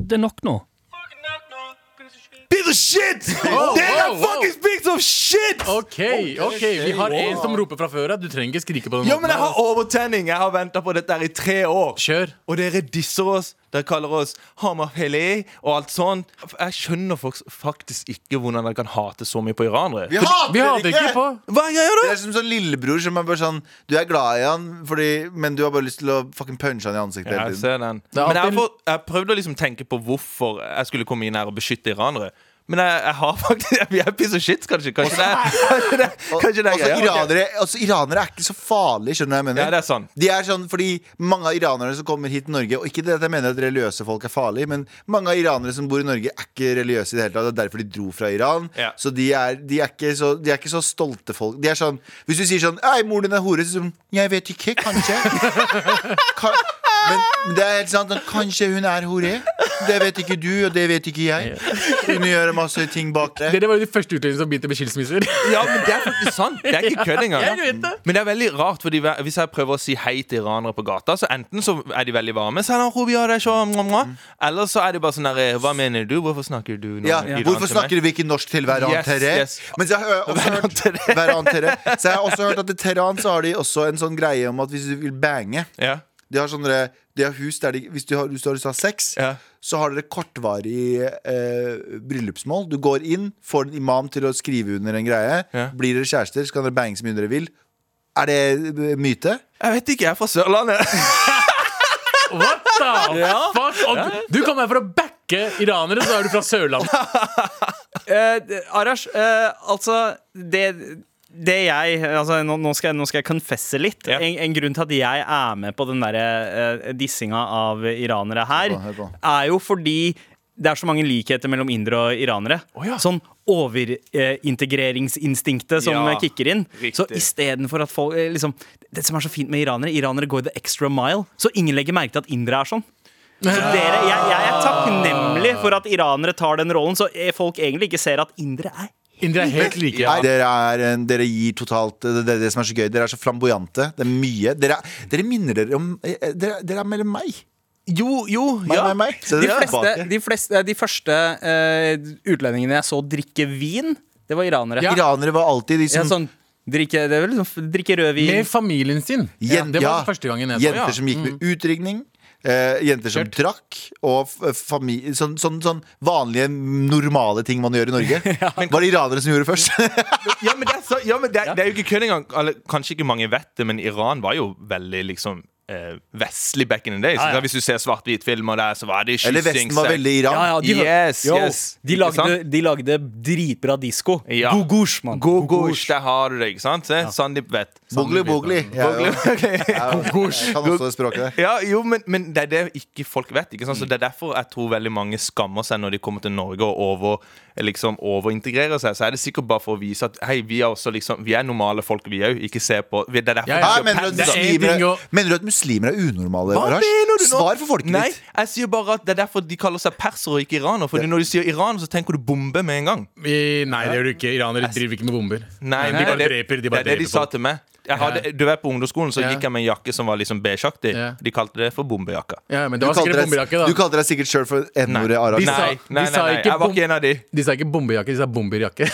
Det er nok nå. Piece of shit! Det er wow, wow. fucking piece of shit! OK, ok, vi har en som roper fra før av. Du trenger ikke skrike på den. Ja, men måten jeg har her. overtenning. Jeg har venta på dette her i tre år. Kjør. Og dere disser oss. Dere kaller oss Hamarfele og alt sånt. Jeg skjønner folk- faktisk ikke hvordan dere kan hate så mye på iranere. Vi hater Vi hadde ikke på. Hva er greia, Det da? er som sånn lillebror som er bare sånn Du er glad i han, fordi, men du har bare lyst til å fucking punche han i ansiktet hele Jeg tiden. ser den. er Men jeg, har alltid- fått, jeg har prøvd å liksom tenke på hvorfor jeg skulle komme inn her og beskytte iranere. Men jeg, jeg har faktisk Jeg er piece of shit, kanskje. Kanskje det er, kanskje det, er- kanskje det er Også greia. altså, iranere, også iranere er ikke så farlige, skjønner du hva jeg mener? Ja, det er sant. De er sånn, fordi mange av iranerne som kommer hit til Norge Og ikke det at jeg mener at religiøse folk er farlige Men mange av iranere som bor i Norge er ikke religiøse i det hele tatt Det er derfor de dro fra Iran Ja. Så, de er, de, er ikke så de er ikke så stolte folk De er sånn, hvis du sier sånn Ei, moren din er hore Så sier de, sånn, jeg vet ikke, kanskje Ka men, men det er helt sant at Kanskje hun er hore Det vet ikke du, og det vet ikke jeg Hun gjør masse ting bak det Dere var jo de første utlendingene som begynte med skilsmisser. Ja, men det er faktisk sant. Det er ikke kødd engang. jeg vet det. Men det er veldig rart, fordi hver- hvis jeg prøver å si hei til iranere på gata, så enten så er de veldig varme, «Salam, hobi, ja, det er så, mwah, mwah». eller så er de bare sånn derre Hva mener du? Hvorfor snakker du nå? Ja, Hvorfor snakker vi ikke norsk til hverandre? Yes, yes. Men så har jeg også hørt hverandre. Så jeg har også hørt at i Teheran så har de også en sånn greie om at hvis du vil bange Ja. De har sånne de har hus der de Hvis du har, hvis du har lyst til å ha sex, Ja. så har dere kortvarig eh, bryllupsmål. Du går inn, får en imam til å skrive under en greie. Ja. Blir dere kjærester, så kan dere bange så mye dere vil. Er det eh, myte? Jeg vet ikke, jeg er fra Sørlandet. What the fuck? Og du du kom her for å backe iranere, så er du fra Sørlandet. Eh, d- Arash, eh, altså det, det jeg altså, nå, nå, skal jeg, nå skal jeg confesse litt. Ja. En, en grunn til at jeg er med på den der, eh, dissinga av iranere her, Hør på, hør på. er jo fordi det er så mange likheter mellom indere og iranere. ja. Sånn overintegreringsinstinktet som Ja, eh, kicker inn. Så riktig. istedenfor at folk eh, liksom, Det som er så fint med iranere, iranere går the extra mile. Så ingen legger merke til at indere er sånn. Så dere, jeg, jeg er takknemlig for at iranere tar den rollen, så eh, folk egentlig ikke ser at indere er Indere er helt like. Nei, dere, er, en- dere gir totalt det, det, er det som er så gøy. Dere er så flamboyante. Det er mye. Dere, er- dere minner dere om eh, Dere, dere er mer enn meg. Jo, jo, Meg, ja. meg, meg. Se De, dere fleste, tilbake. de, fleste, de første eh, utlendingene jeg så drikke vin, det var iranere. Ja. Iranere var alltid de Ja, som sånn, drikke, det er vel liksom, drikke rødvin. Med familien sin. Jen- Det ja, var første gangen jeg så Jenter ja. som gikk med utrykning. eh, jenter som drakk, og f- fami- sånn, sånn, sånn vanlige, normale ting man gjør i Norge. Var det iranere som gjorde først? ja, men, det er, så, ja, men det, er, det er jo ikke kødd engang. Eller, Kanskje ikke mange vet det, men Iran var jo veldig liksom eh, eh, vestlig back in the day. Så Ja, ja. Hvis du ser svart-hvit-filmer der, så var det kyssing Eller Vesten var sex. veldig Iran. Ja, ja, de, hø- Yes, Yo, yes. de, Ikke lagde, sant? de lagde dritbra disko. Ja. Gogosh, mann. Gosh, Der har du det, ikke sant? Se, Sandeep vet. Bogli, bogli. Jeg er jo- jeg er jo- jeg kan også det språket der. Ja, jo, men, men det er det ikke folk vet. Ikke sant? Så Det er derfor jeg tror veldig mange skammer seg når de kommer til Norge og over, liksom, overintegrerer seg. Så er det sikkert bare for å vise at hei, vi er også liksom Vi er normale folk, vi òg. Ikke se på vi- Det er derfor Ja, ja. Hæ, mener, du at Det er en muslimer, ting å- mener du at muslimer er unormale? Hva Arash? mener du nå? Svar for folket Nei, ditt. jeg sier bare at det er derfor de kaller seg persere og ikke iranere. Fordi når du sier Iran, så tenker du bombe med en gang. I, nei, det gjør du ikke. Iranere driver ikke med bomber. Nei, de det er bare det- dreper. De Det bare er det de dreper sa folk. til meg. Jeg hadde, du vet, På ungdomsskolen så Ja. gikk jeg med en jakke som var liksom beigeaktig. Ja. De kalte det for bombejakka. Ja, men Du det var sikkert kalte bomberjakke, deg, du da. kalte deg sikkert sjøl for n-ordet De Arash. sa- Nei, nei, de sa nei, nei, ikke jeg var bom- ikke en av de. De sa ikke bomberjakke, de sa bomberjakke.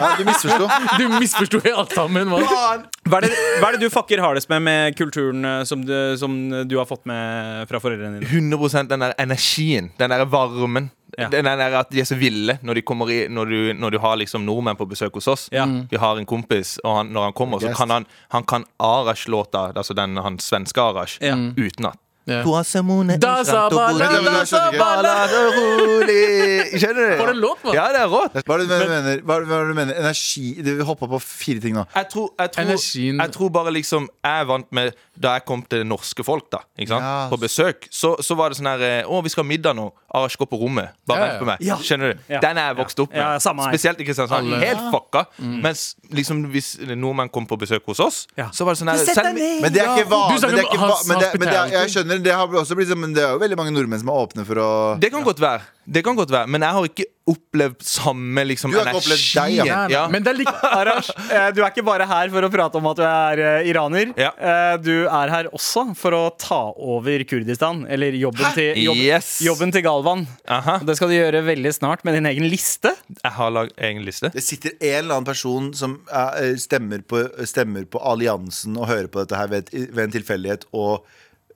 Ja, du misforsto. Du misforsto jo alt sammen. hva? Hva er, det, hva er det du fucker hardest med med kulturen eh, som du, som du har fått med fra foreldrene dine? 100 den der energien, den der varmen. Ja. Den der at de er så ville når, de kommer i, når, du, når du har liksom nordmenn på besøk hos oss. Ja. Vi har en kompis, og han, når han kommer, så Yes. kan han Han kan Arash-låta, altså den han svenske Arash, Ja. utenat. Ja. Du har semonet Da sa utenat, balla, Men det- da men jeg skjønner ikke. balla, rolig. Skjønner du? For en låt, hva? Ja, det er rått. Hva er det du mener? Hva er det du mener? Energi Du hoppa på fire ting nå. jeg tror, jeg, tror, Energien- jeg tror bare liksom Jeg er vant med Da jeg kom til norske folk da ikke sant? Ja. På besøk så, så var det sånn her eh, Å, vi skal ha middag nå Arash, gå på rommet Bare Ja, vent ja. på meg Ja. Skjønner du? Ja. Den er jeg vokst opp med Ja, samme her. Mm. Spesielt i Kristiansand Alle. Helt fucka Mens liksom hvis nordmenn kom på besøk hos oss Ja. Så var det sånn her Sett deg selv- ned! Men det er ikke Du vanlig. snakker Men det er om ikke va hans men det, men det er, jeg hospitality. skjønner, det har også blitt sånn Men det er jo veldig mange nordmenn som er åpne for å Det kan godt være Det kan godt være Men jeg har ikke opplevd samme liksom Du har ikke opplevd deg, ja. energien. ja. Men det er litt Arash, eh, du er ikke bare her for å prate om at du er eh, iraner. Ja. Eh, Du er her også for å ta over Kurdistan, eller jobben, til, jobb, Yes. jobben til Galvan. Aha. Det skal du gjøre veldig snart med din egen liste. Jeg har laget egen liste Det sitter en eller annen person som eh, stemmer, på, stemmer på alliansen og hører på dette her ved, et- ved en tilfeldighet og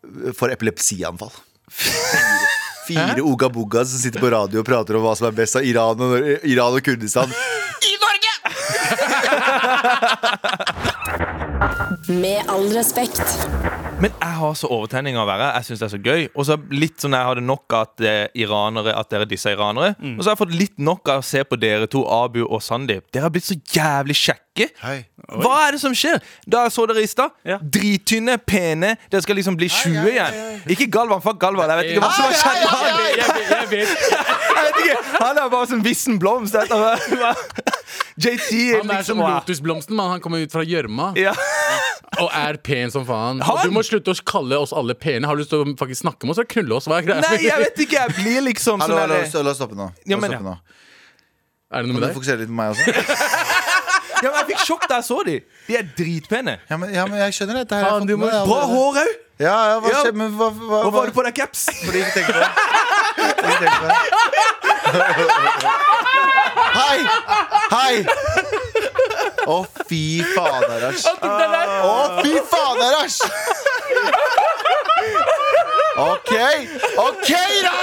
eh, får epilepsianfall. Fire, fire ogabogas som sitter på radio og prater om hva som er best av Iran og, Iran og Kurdistan. Med all respekt. Men jeg har så overtenning av å være her. Jeg syns det er så gøy. Og så litt sånn jeg hadde nok av at, eh, iranere, at dere disse iranere. Mm. Og så har jeg fått litt nok av å se på dere to, Abu og Sandeep. Dere har blitt så jævlig kjekke. Hei. Hva er det som skjer? Da jeg så dere i stad, Ja. drittynne, pene. Dere skal liksom bli 20 igjen. Ikke Galvan. Fuck Galvan. Jeg vet ikke hva som har skjedd. med han. Jeg vet Jeg vet ikke. Han er bare som vissen blomst. Dette var- var- JT Han er som lotusblomsten, men han kommer ut fra gjørma liksom ja. og er pen som faen. Og Han- du må slutte å kalle oss alle pene. Har du lyst til å faktisk snakke med oss og knulle oss? Hva er greia? Nei, jeg vet ikke. Jeg blir liksom Hallo, sånn hallo, der- så la oss stoppe nå. La Ja, oss men- stoppe nå. Er Kan det noe med du deg? fokusere litt på meg også? ja, men Jeg fikk sjokk da jeg så de De er dritpene. Ja, men, ja, men jeg skjønner dette. Her, jeg har Faen, du fått må- med det Bra allerede. hår òg. Ja, ja, hva Ja. skjer? Men hva, hva, Hvorfor hva, har du på deg caps? Fordi ikke tenker på det. Fordi ikke tenker på det. Hei! Hei! Å, fy fader, æsj. Å, fy fader, æsj! OK! OK, da!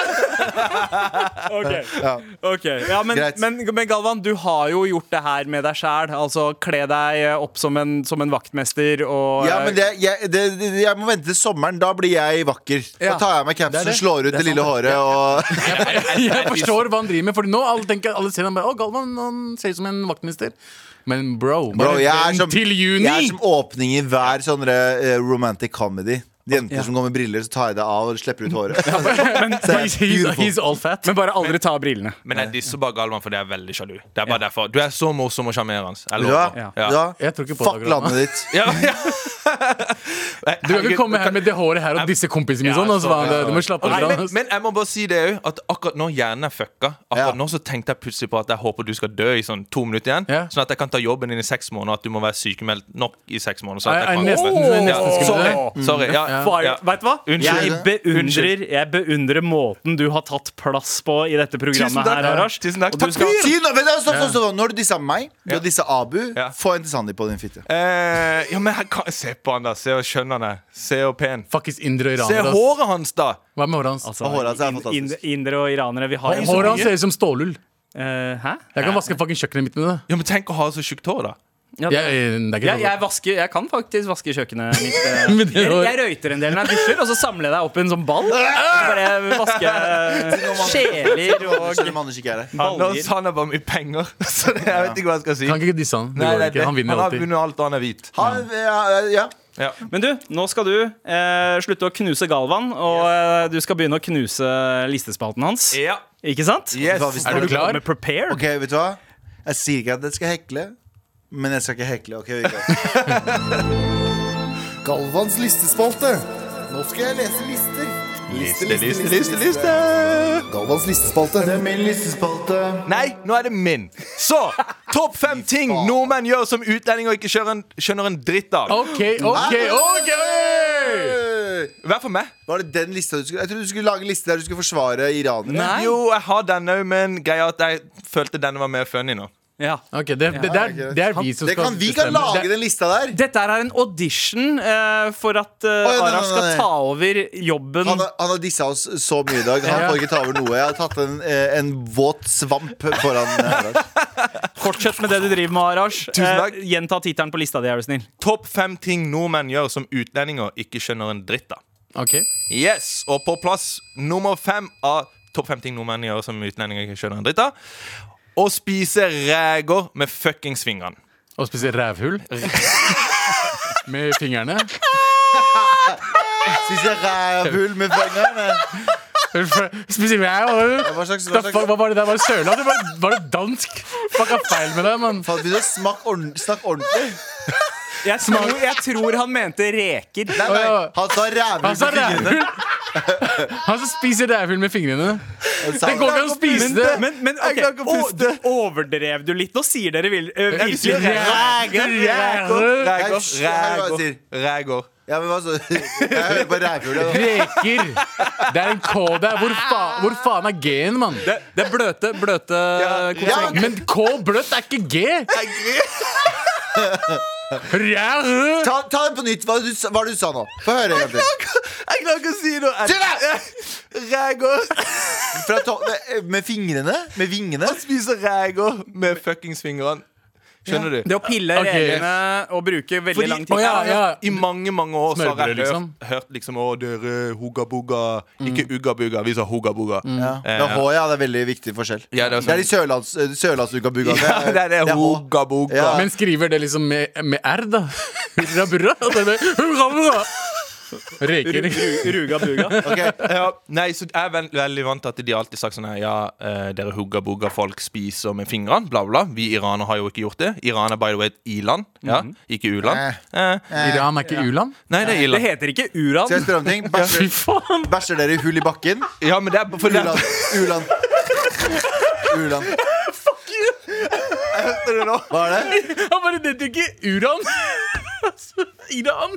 Ok, Ja. ok ja, men, Greit. men, men Galvan, du har jo gjort det her med deg sjæl. Altså kle deg opp som en, som en vaktmester og eh, Ja, men det, jeg, det, det, jeg må vente til sommeren. Da blir jeg vakker. Da Ja. tar jeg av meg Det er capsen, det. slår ut det lille håret og Jeg forstår hva han driver med, Fordi nå alle tenker alle ser han bare Å, Galvan han ser ut som en vaktminister. Men bro, Bro, bare jeg er vent som, til juni! jeg er som åpning i hver sånn eh, romantic comedy. De jenter Ja. som går med briller, så tar jeg det av og slipper ut håret. Så jeg er He's, he's, beautiful. he's all fat. Men bare aldri ta brillene. Men jeg disser bare Galvan fordi jeg er veldig sjalu. Det er bare derfor Du er så morsom og sjarmerende. Jeg Vet du hva? lover. Ja. Vet du hva? Jeg tror ikke på Fuck det, Grana. landet ditt. Ja, ja. Du kan ikke komme her med det håret her og disse kompisene mine sånn. Ja, Altså, sorry, faen, du må slappe av. Nei, men, Grana. men jeg må bare si det òg, at akkurat nå hjernen er fucka. Ja. Akkurat nå så tenkte jeg plutselig på at jeg håper du skal dø i sånn to minutter igjen. Ja. Sånn at jeg kan ta jobben din i seks måneder, at du må være sykemeldt nok i seks måneder. Sånn Nei, at nei, jeg kan nesten- jobbe. nesten skulle Sorry. Mm. det. Sorry. Ja, Fire, ja. Vet du hva? Jeg Unnskyld. beundrer, jeg beundrer måten du har tatt plass på i dette Tusen programmet takk. her, Arash. Tusen takk. Og du Takk skal, for- Si nå, vet du, stopp, stopp, stopp. Nå har du dissa meg, du har Ja. dissa Abu. Ja. Få en til Sandeep på din fitte. Eh, ja, men jeg kan, se på han, da. Se hvor skjønn han er. Se hvor pen. Fuckings indre Se iraner. ass. håret hans, da! Hva med håret hans? Og håret hans er in- fantastisk. in- Indere og iranere, vi har jo så Håret hans mye. ser ut som stålull. Eh, hæ? Jeg kan vaske fucking kjøkkenet mitt med det. Ja, men Tenk å ha så tjukt hår, da. Ja, Jeg, jeg, det er ikke jeg, jeg, vasker, jeg kan faktisk vaske kjøkkenet mitt. eh, Med det Jeg, hår. jeg røyter en del når jeg dusjer, og så samler jeg deg opp i en sånn ball. Så bare vaske sjeler og Skjønner om Anders ikke er her. Han, baller. han har bare mye penger, så det, jeg vet ikke hva jeg skal si. Kan ikke disse han. Det Nei, går nei, ikke. det- Han vinner har alltid. vunnet alt, og han er hvit. Han, ja, ja. Ja. Men du, nå skal du eh, slutte å knuse Galvan, og eh, du skal begynne å knuse listespalten hans. ja. Ikke sant? Yes. Hva hvis- Er du klar? Med prepare. Ok, vet du hva? Jeg sier ikke at jeg skal hekle, men jeg skal ikke hekle. Ok, vi går. Galvans listespalte. Nå skal jeg lese lister. Liste, liste, liste, liste! Galvans listespalte. Det er min Nei, nå er det min. Så topp fem ting nordmenn gjør som utlendinger ikke skjønner en, skjønner en dritt av. OK, OK, OK! Hver for meg. Var det den lista du skulle Jeg trodde du skulle lage en liste der du skulle forsvare iranere. Nei. Jo, jeg har denne òg, men greia er at jeg følte denne var mer funny nå. Ja. Ok, det, det, det, er, det er vi som Det skal kan, vi kan bestemme. lage Det- den lista der! Dette her er en audition eh, for at eh, Oi, nei, nei, Arash skal nei. ta over jobben. Han har, han har dissa oss så mye i dag. Han får ikke ta over noe. Jeg har tatt en, eh, en våt svamp foran her. Fortsett med det du driver med, Arash. takk. Eh, gjenta tittelen på lista di, er du snill. Topp fem ting nordmenn gjør som utlendinger ikke skjønner en dritt av. Ok. Yes, Og på plass nummer fem av topp fem ting nordmenn gjør som utlendinger ikke skjønner en dritt av. Å spise reker med fuckings fingrene. Og spise rævhull. Med fingrene. Spiser rævhull med fingeren. eh. Spise rævhull. Hva slags, Da, hva fa- hva slags var det der? Var det Sørlandet? Var, det- var det dansk? Fuck, er feil med deg, mann? Faen, begynn å smak ordn- Snakk ordentlig. Jeg tror, jeg tror han mente reker. Nei, nei, han sa rævhull Han sa på fingrene. rævhull. Han som spiser rævhull med fingrene. Det går ikke an å spise det. Men, men ok, å, du overdrev du litt? Nå sier dere vil, eh, Jeg virkelig sier ræger, ræger. Æsj, det er hva Reker, jeg reker, sier. reker. Ja, men hva så? Jeg hører på rævhull. jeg. Reker. Det er en K der. Hvor, fa hvor faen er G-en, mann? Det, det er bløte, bløte Ja, Men K bløtt er ikke G. Rævhull. ta, ta det på nytt. Hva du, sa- hva du sa nå? Få høre. en gang til. Jeg klarer ikke å si noe. Reker. Fra to eh, med fingrene? Med vingene? Å spise reker med fuckings fingrene. Skjønner du? Det å pille Ok. reglene og bruke veldig Fordi lang Å tid. ja, ja. I mange mange år så har jeg Smørbrød, liksom. Mm. hørt, hørt liksom Å, dere hugga-bugga. Ikke ugga-bugga, vi sa hugga-bugga. Ja, H, ja, det er veldig viktig forskjell. Ja, det er det er de sørlands, sørlandsugabuga. Ja, det er det. H. Hugga-bugga. Ja. Men skriver det liksom med, med R, da? Hurra, burra. Det er det. Hurra, burra. Reker. Ruga buga. Ok. Ja, nei, så jeg er vel- veldig vant til at de alltid sagt sånn her Ja, eh, dere hugga-bugga, folk spiser med fingrene, bla, bla. bla. Vi iranere har jo ikke gjort det. Iran er by the way et i-land, ja, ikke u-land. Eh, Iran er ikke u-land? nei, det er Det i-land. heter ikke Skal jeg uran. spørre om ting? Fy Bæsjer, faen. bæsjer dere i hull i bakken? Ja, men det er for det U-land. U-land. U-land. Hva er det? Han bare Det heter ikke uran. Iran.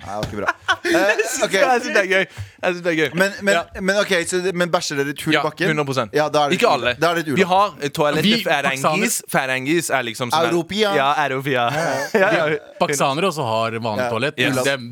Nei, det var ikke bra. Eh, ok. Jeg syns det er gøy. Jeg synes det er gøy. Men, men, men ok, så det, men bæsjer dere i et hull i ja, bakken? 100 Ja, da er det Ikke alle. Da er det et Vi u-land. har eh, toalettet Vi, Ferengis. Ferengis er liksom sånn her- Europia. Ja, Europia. Ja, ja. Pakistanere også har vanlig Ja. toalett. Ja. Det er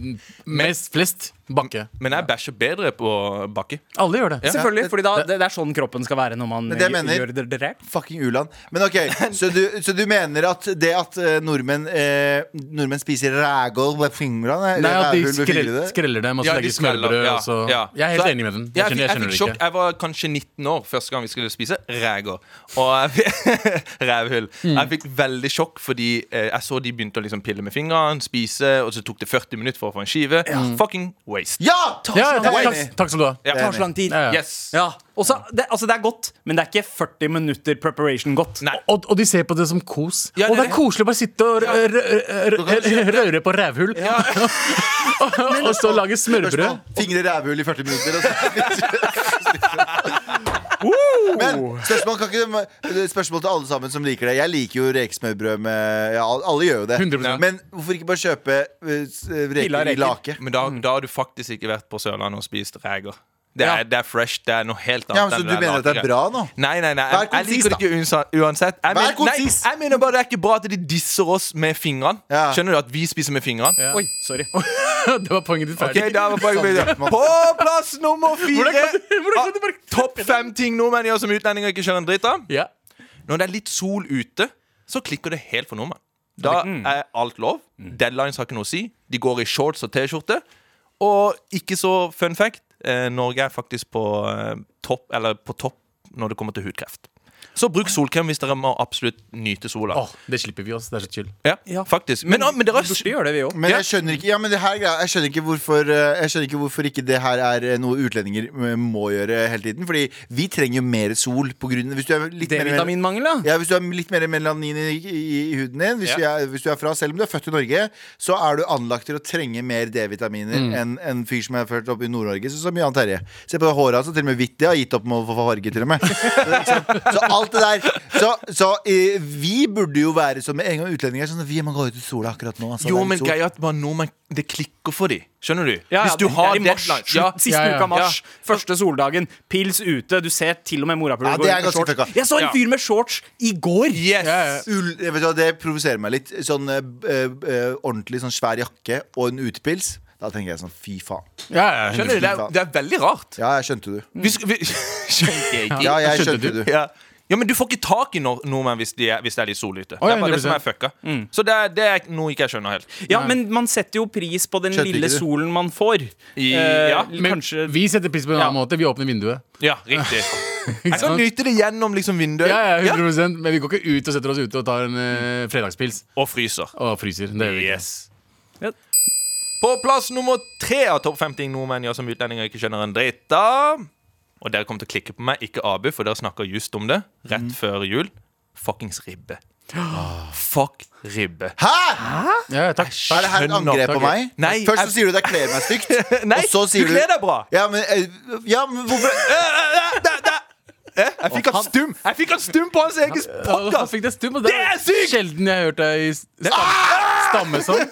mest flest bakke. Men jeg bæsjer bedre på bakke. Alle gjør det. Selvfølgelig, fordi da, det, det er sånn kroppen skal være når man Men det gj- mener- gjør det drept. Fucking u-land. Men ok, så du, så du mener at det at eh, nordmenn, eh, nordmenn spiser rægål med fingrene Nei, at de rævhull med skrell, fingrene? skreller dem og så Ja, de legger skreller, smørbrød. ja, og så ja. Jeg er helt Så enig med den. Jeg, Jeg skjønner, jeg fikk- skjønner jeg fikk det sjokk. ikke. Jeg var kanskje 19 år første gang vi skulle spise ræger. Og jeg, fikk- rævhull. Mm. Jeg fikk veldig sjokk fordi eh, jeg så de begynte å liksom pille med fingrene, spise, og så tok det 40 minutter for å få en skive. Mm. Fucking waste. Ja! Ta, Ja, Jeg ja, takk, er takk, enig. takk skal du ha. Ja. Det tar så lang tid. Ja, ja. Yes. Ja, og så- det, altså det er godt, men det er ikke 40 minutter preparation godt. Nei. Og, og de ser på det som kos. Ja, det og det er er det. koselig å bare sitte og rø- rø- rø- rø- røre på rævhull. og, og så lage smørbrød. Spørsmål. Fingre i rævhull i 40 minutter. og så- Men spørsmål, kan ikke, spørsmål til alle sammen som liker det. Jeg liker jo rekesmørbrød med ja, Alle gjør jo det. 100%. Men hvorfor ikke bare kjøpe eh, s- Pilla reker i reker. lake? Men da, Mm. da har du faktisk ikke vært på Sørlandet og spist reger. Det er, Ja. det er fresh. Det er noe helt annet. Ja, men Så du enn der mener at det er lakeret. bra nå? Nei, nei, Vær nei. Jeg, jeg konsis, liker det ikke unsa- uansett. Vær Jeg mener, nei, konsis. jeg mener bare det er ikke bra at de disser oss med fingrene. Ja. Skjønner du at vi spiser med fingrene? Oi, sorry. det var poenget ditt Ok, ferdig. da var poenget mitt. På plass nummer fire av Topp fem ting nordmenn gjør som utlendinger ikke skjønner en dritt av. Ja. Når det er litt sol ute, så klikker det helt for nordmenn. Da er alt lov. Deadlines har ikke noe å si. De går i shorts og T-skjorte. Og ikke så fun fact, eh, Norge er faktisk på eh, topp, eller på topp når det kommer til hudkreft. Så bruk solkrem hvis dere må absolutt nyte sola. Åh, det slipper vi oss. Det er så chill. Ja, faktisk. Men, ah, men dere Vi burde gjøre det, vi òg. Men jeg skjønner ikke Ja, men det her er greia. jeg skjønner ikke, hvorfor, eh, jeg skjønner ikke hvorfor ikke det her er eh, noe utlendinger eh, må gjøre hele tiden. Fordi vi trenger jo mer sol. På grunn, hvis du er litt mer- D-vitaminmangel, ja. ja, Hvis du har litt mer melanin i, i, i huden din, hvis, Ja. du er, hvis du er fra, selv om du er født i Norge, så er du anlagt til å trenge mer D-vitaminer Mm. enn en fyr som er født opp i Nord-Norge, sånn som Jan Terje. Se på håret hans, og til og med hvitt. Det har gitt opp med å få farge, til og med. så, så alt det der. Så, så eh, vi burde jo være som med en gang utlendinger er sånn Vi må gå ut i sola akkurat nå. Altså, Jo, Det er men sol. greia er at bare nordmenn Det klikker for dem. Skjønner du? Ja, ja, Hvis du det har er i mars. deadline- Ja, Ja, Siste ja, ja. uka av mars. Første soldagen. Pils ute. Du ser til og med morapuler Ja, gå det er rundt med ganske shorts. fucka. Jeg så en Ja. fyr med shorts i går! yes! Ja, ja. Ull, jeg vet du hva, det provoserer meg litt. Sånn eh, b- eh, ordentlig sånn svær jakke og en utepils. Da tenker jeg sånn fy faen. Ja, ja. Skjønner du? Det er, det er veldig rart. Ja, jeg skjønte du. Vi sk- vi- Skjønte jeg ikke. Ja, jeg skjønte skjønte du. Ja. ja, men du får ikke tak i nor- nordmenn hvis, de er, hvis det er litt sollyte. Å, ja, det er bare det som er 100%. fucka. Så det er, det er noe ikke jeg skjønner helt. Ja, men man setter jo pris på den Skjønte lille ikke du. solen man får. I- Eh, ja. l- Men Kanskje vi setter pris på en annen Ja. måte. Vi åpner vinduet. Ja, riktig. Jeg sant? kan nyte det gjennom liksom vinduet. Ja, ja, 100 Men vi går ikke ut og setter oss ute og tar en eh, fredagspils Og fryser. og fryser. Det gjør vi ikke. Yes. På plass nummer tre av topp 50 ting nordmenn gjør som utlendinger ikke skjønner en dritt av. Og dere kommer til å klikke på meg, ikke Abu, for dere snakker just om det rett før jul. Fuckings ribbe. Fuck ribbe. Hæ?! Ja, ja, takk. Er det her et angrep på meg? Nei, Først jeg- så sier du det kler meg stygt. Nei, og så sier du kler deg eh, bra. Ja, men, eh, ja, men hvorfor eh, Jeg fikk han stum Jeg fikk han stum på hans egen Ja, podkast! fikk det stum, og Det er sykt! Sjelden jeg har hørt deg i stamme, stamme sånn.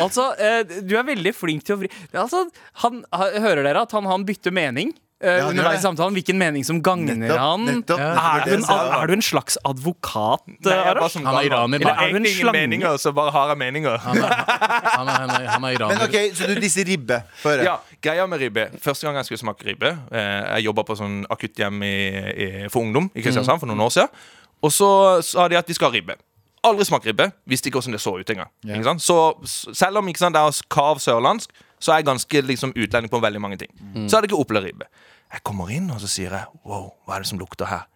Altså, eh, du er veldig flink til å vri Altså, han, ha- Hører dere at han, han bytter mening? Ja, eh, det gjør underveis i jeg. samtalen Hvilken mening som gagner Nettopp, han? nettopp, er, nettopp du det en, jeg sa. er du en slags advokat, Nei, jeg er bare Arash? som Han er gammel. iraner. Jeg Er du har en egentlig ingen slange? meninger, så bare har jeg meninger. Han er, han er, han er, han er Men iraner. OK, så du disser ribbe. Få høre. Ja, greia med ribbe Første gang jeg skulle smake ribbe eh, Jeg jobbet på sånn akutthjem i, i, for ungdom i Kristiansand for noen år siden. Og så sa de at de skal ha ribbe. Aldri smakt ribbe. Visste ikke hvordan det så ut engang. Ikke sant? Så s- selv om ikke sant, det er kav sørlandsk, så er jeg ganske liksom, utlending på veldig mange ting. Mm. Så hadde jeg ikke opplevd ribbe. Jeg kommer inn, og så sier jeg Wow, hva er det som lukter her?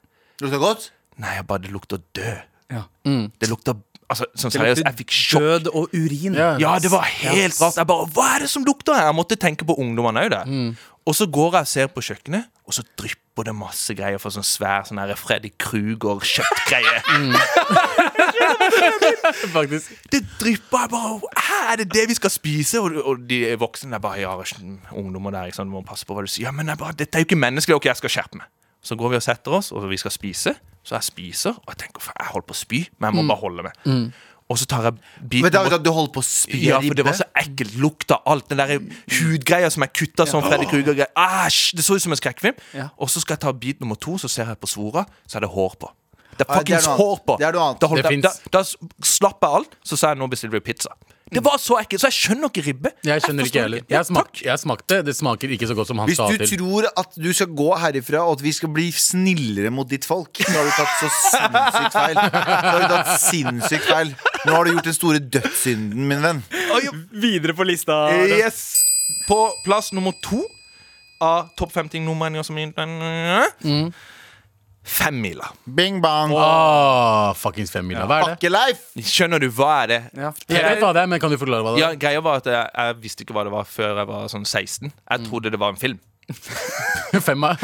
Lukter godt? Nei, jeg bare det lukter død. Ja. Det lukter Altså, Mm. sånn Det lukter seriøst, jeg fikk sjokk. Død og urin. Ja. Ja, det var helt rart. Jeg bare, Hva er det som lukter her? Jeg måtte tenke på ungdommene òg der. Mm. Og så går jeg og ser på kjøkkenet, og så drypper det masse greier fra sånn svær sånn her Freddy Kruger-kjøttgreie. Mm. faktisk. Det drypper. Jeg bare Hæ, er det det vi skal spise? Og, og de voksne der bare Ja, skjønn, ungdommer der, ikke sant, du må passe på hva du sier. Ja, men jeg bare, dette er jo ikke menneskelig. Ok, jeg skal skjerpe meg. Så går vi og setter oss, og vi skal spise. Så jeg spiser, og jeg tenker faen, jeg holder på å spy, men jeg må bare holde meg. Og så tar jeg biten Mm. Men da, bort- da, du holder på å spy Ja, for ribbe? det var så ekkelt. Lukta alt. Den der hudgreia som jeg kutta som Freddy Kruger-greia. Æsj! Det så ut som en skrekkfilm. Ja. Og så skal jeg ta bit nummer to, så ser jeg på svora, så er det hår på. Ah, det Det er er fuckings noe annet. hår på! Det er noe annet. Da, holdt Det jeg, da, finnes. da s- slapp jeg alt, så sa jeg nå bestiller vi pizza. Det var så ekkelt, så jeg skjønner ikke ribbe. Jeg skjønner forstår ikke heller. Ja, Jeg, smak, takk. jeg smakte, det smaker ikke så godt som han Hvis sa du til. tror at du skal gå herifra og at vi skal bli snillere mot ditt folk, så har du tatt så sinnssykt feil. Så har du tatt sinnssykt feil Nå har du gjort den store dødssynden, min venn. Videre på lista. Yes. På plass nummer to av topp 50 nordmenn som Mm. Femmila. Bing bang. Åh, Ah, fuckings femmila. Hva Ah. er det? Pakkeleif. Skjønner du hva er det? Jeg vet hva det er, men kan du forklare hva det Ja, er? greia var at jeg, jeg visste ikke hva det var før jeg var sånn 16. Jeg trodde det var en film. Femma.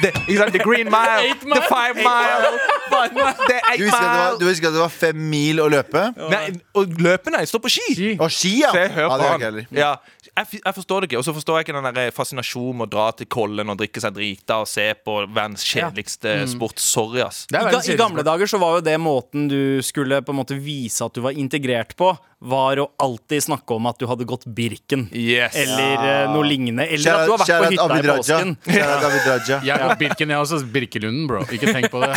Det, ikke sant? The Green Mile, Eight Mile, The Five Mile, The Eight Du husker, at det var, du Mile husker at det var fem mil å løpe? Nei, Og løpende. Jeg står på ski. Ski. Og ski, ja. Se, hør ja, på det har han. ikke jeg heller. Ja, jeg, fi- jeg forstår det ikke. Og så forstår jeg ikke den der eh, fascinasjonen med å dra til Kollen og drikke seg drita og se på verdens kjedeligste sport. Sorry, ass. Det er I, veldig ga, I kjedelig gamle sport. dager så var jo det måten du skulle på en måte vise at du var integrert på, var å alltid snakke om at du hadde gått Birken. Yes. Eller eh, noe lignende. Eller at du Kjære har vært på kjære hytta i Abid Raja. påsken. Kjære Abid Raja. Jeg er fra Birken, jeg er også. Birkelunden, bro. Ikke tenk på det.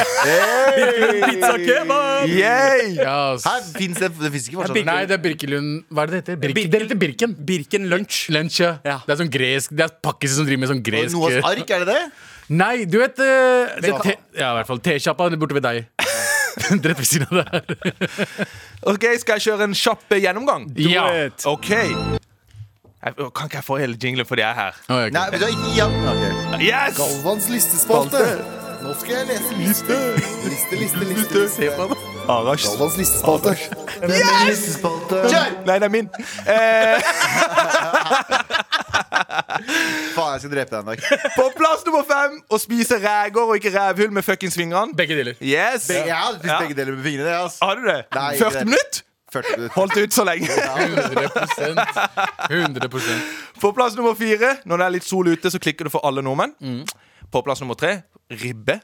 Pizza kebab! Yay! Ja, ass. Her finnes det Det fins ikke fortsatt. Nei, det er Birkelund Hva er det det heter? Birken. Birken. Det heter Birken. Birken lunsj. Lunsj, ja. Ja. Det er sånn gresk Det er pakkiser som driver med sånn gresk Noas ark, er det det? Nei, du vet eh, det, Vet te, Ja, i hvert fall T-sjappa borte ved deg. Rett ved siden av det her. Ok, Skal jeg kjøre en kjapp eh, gjennomgang? Ja. OK. Jeg, kan ikke jeg få hele jinglen fordi jeg er her? Å, ja, ok. Nei, vet du hva, ikke igjen. Ok. Yes! Galvans listespalte. Nå skal jeg lese liste. Liste, liste, liste. liste. Galvans listespalte. Nei, det er min. Eh, Faen, jeg skal drepe deg en dag. på plass nummer fem å spise ræger og ikke rævhull med fuckings fingrene. Begge deler. Yes! Jeg har spist Ja. Ah. begge deler med fingrene. jeg, Altså. Har du det? Nei, ikke 40 det. minutter? 40 minutter. Holdt ut så lenge. 100 100 På plass nummer fire, når det er litt sol ute, så klikker du for alle nordmenn. Mm. På plass nummer tre, ribbe.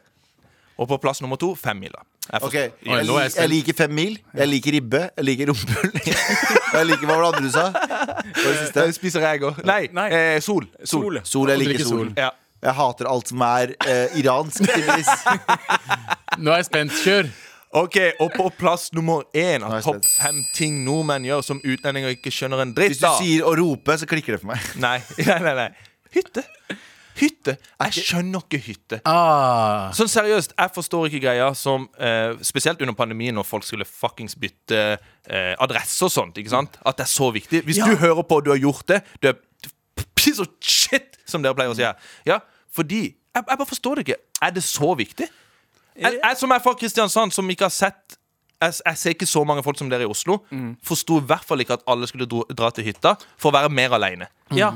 Og på plass nummer to, femmila. Jeg Ok, forstår- jeg, nå er jeg lik- jeg spent. liker fem mil. Jeg liker ribbe. Jeg liker rumpehull. Jeg liker hva var det andre du sa? Hva var det siste? Jeg spiser egg og Nei, Nei. Eh, sol. Sol. Sol. Jeg Og liker drikke sol. sol. Ja. Jeg hater alt som er eh, iransk. tydeligvis. Nå er jeg spent. Kjør. Ok, Og på plass nummer én er av jeg topp spent. fem ting nordmenn gjør som utlendinger ikke skjønner en Hvis dritt du av. sier å rope, så klikker det for meg. Nei, nei, nei, nei. Hytte. Hytte. Jeg skjønner ikke hytte. Ah. Sånn seriøst, jeg forstår ikke greia som eh, Spesielt under pandemien når folk skulle fuckings bytte eh, adresse og sånt. ikke sant? At det er så viktig. Hvis du hører på og du har gjort det, du er piece of shit, som dere pleier å si her. Ja, fordi jeg, jeg bare forstår det ikke. Er det så viktig? Jeg, jeg som er fra Kristiansand, som ikke har sett jeg, jeg ser ikke så mange folk som dere i Oslo. Forsto i hvert fall ikke at alle skulle dro, dra til hytta for å være mer aleine. Ja.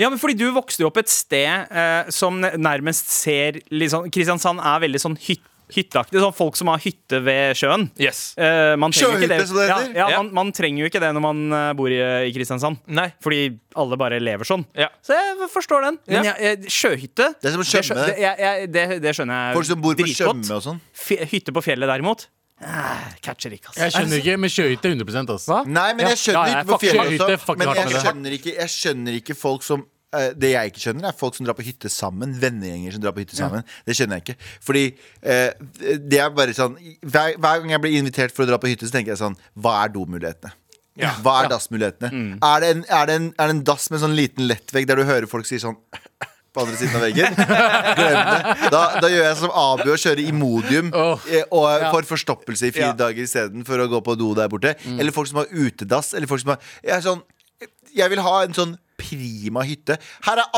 ja, men fordi du vokste jo opp et sted eh, som nærmest ser litt sånn Kristiansand er veldig sånn hyt, hytteaktig. Sånn folk som har hytte ved sjøen. Yes. Eh, man trenger jo ikke Sjøhytte, som det Ja, heter. ja, Ja. man, man trenger jo ikke det når man eh, bor i, i Kristiansand. Nei. Fordi alle bare lever sånn. Ja. Så jeg forstår den. Men Ja. jeg, jeg, sjøhytte Det er som å skjø- skjømme. det, jeg, jeg, det, det skjønner jeg Folk som bor på dritgodt. Tjøme og sånn. Fe- Hytte på fjellet, derimot, eh, catcher ikke, altså. Jeg skjønner ikke, men kjøyte 100 altså. Nei, men jeg skjønner Ja, ja, ikke på fuck fjellet hytte, også. fuck Men hardt jeg med det. skjønner ikke, jeg skjønner ikke folk som eh, det jeg ikke skjønner, er folk som drar på hytte sammen. Vennegjenger som drar på hytte sammen. Det skjønner jeg ikke. Fordi eh, det er bare sånn hver, hver gang jeg blir invitert for å dra på hytte, så tenker jeg sånn Hva er domulighetene? Hva er dassmulighetene? Er, det en, er, det en, er det en dass med sånn liten lettvegg der du hører folk si sånn på andre siden av veggen. Glem det. Da, da gjør jeg som Abu og kjører Imodium Åh, eh, og får forstoppelse i fire Ja. dager isteden for å gå på do der borte. Mm. Eller folk som har utedass. Eller folk som har jeg, er sånn, jeg vil ha en sånn prima hytte. Her er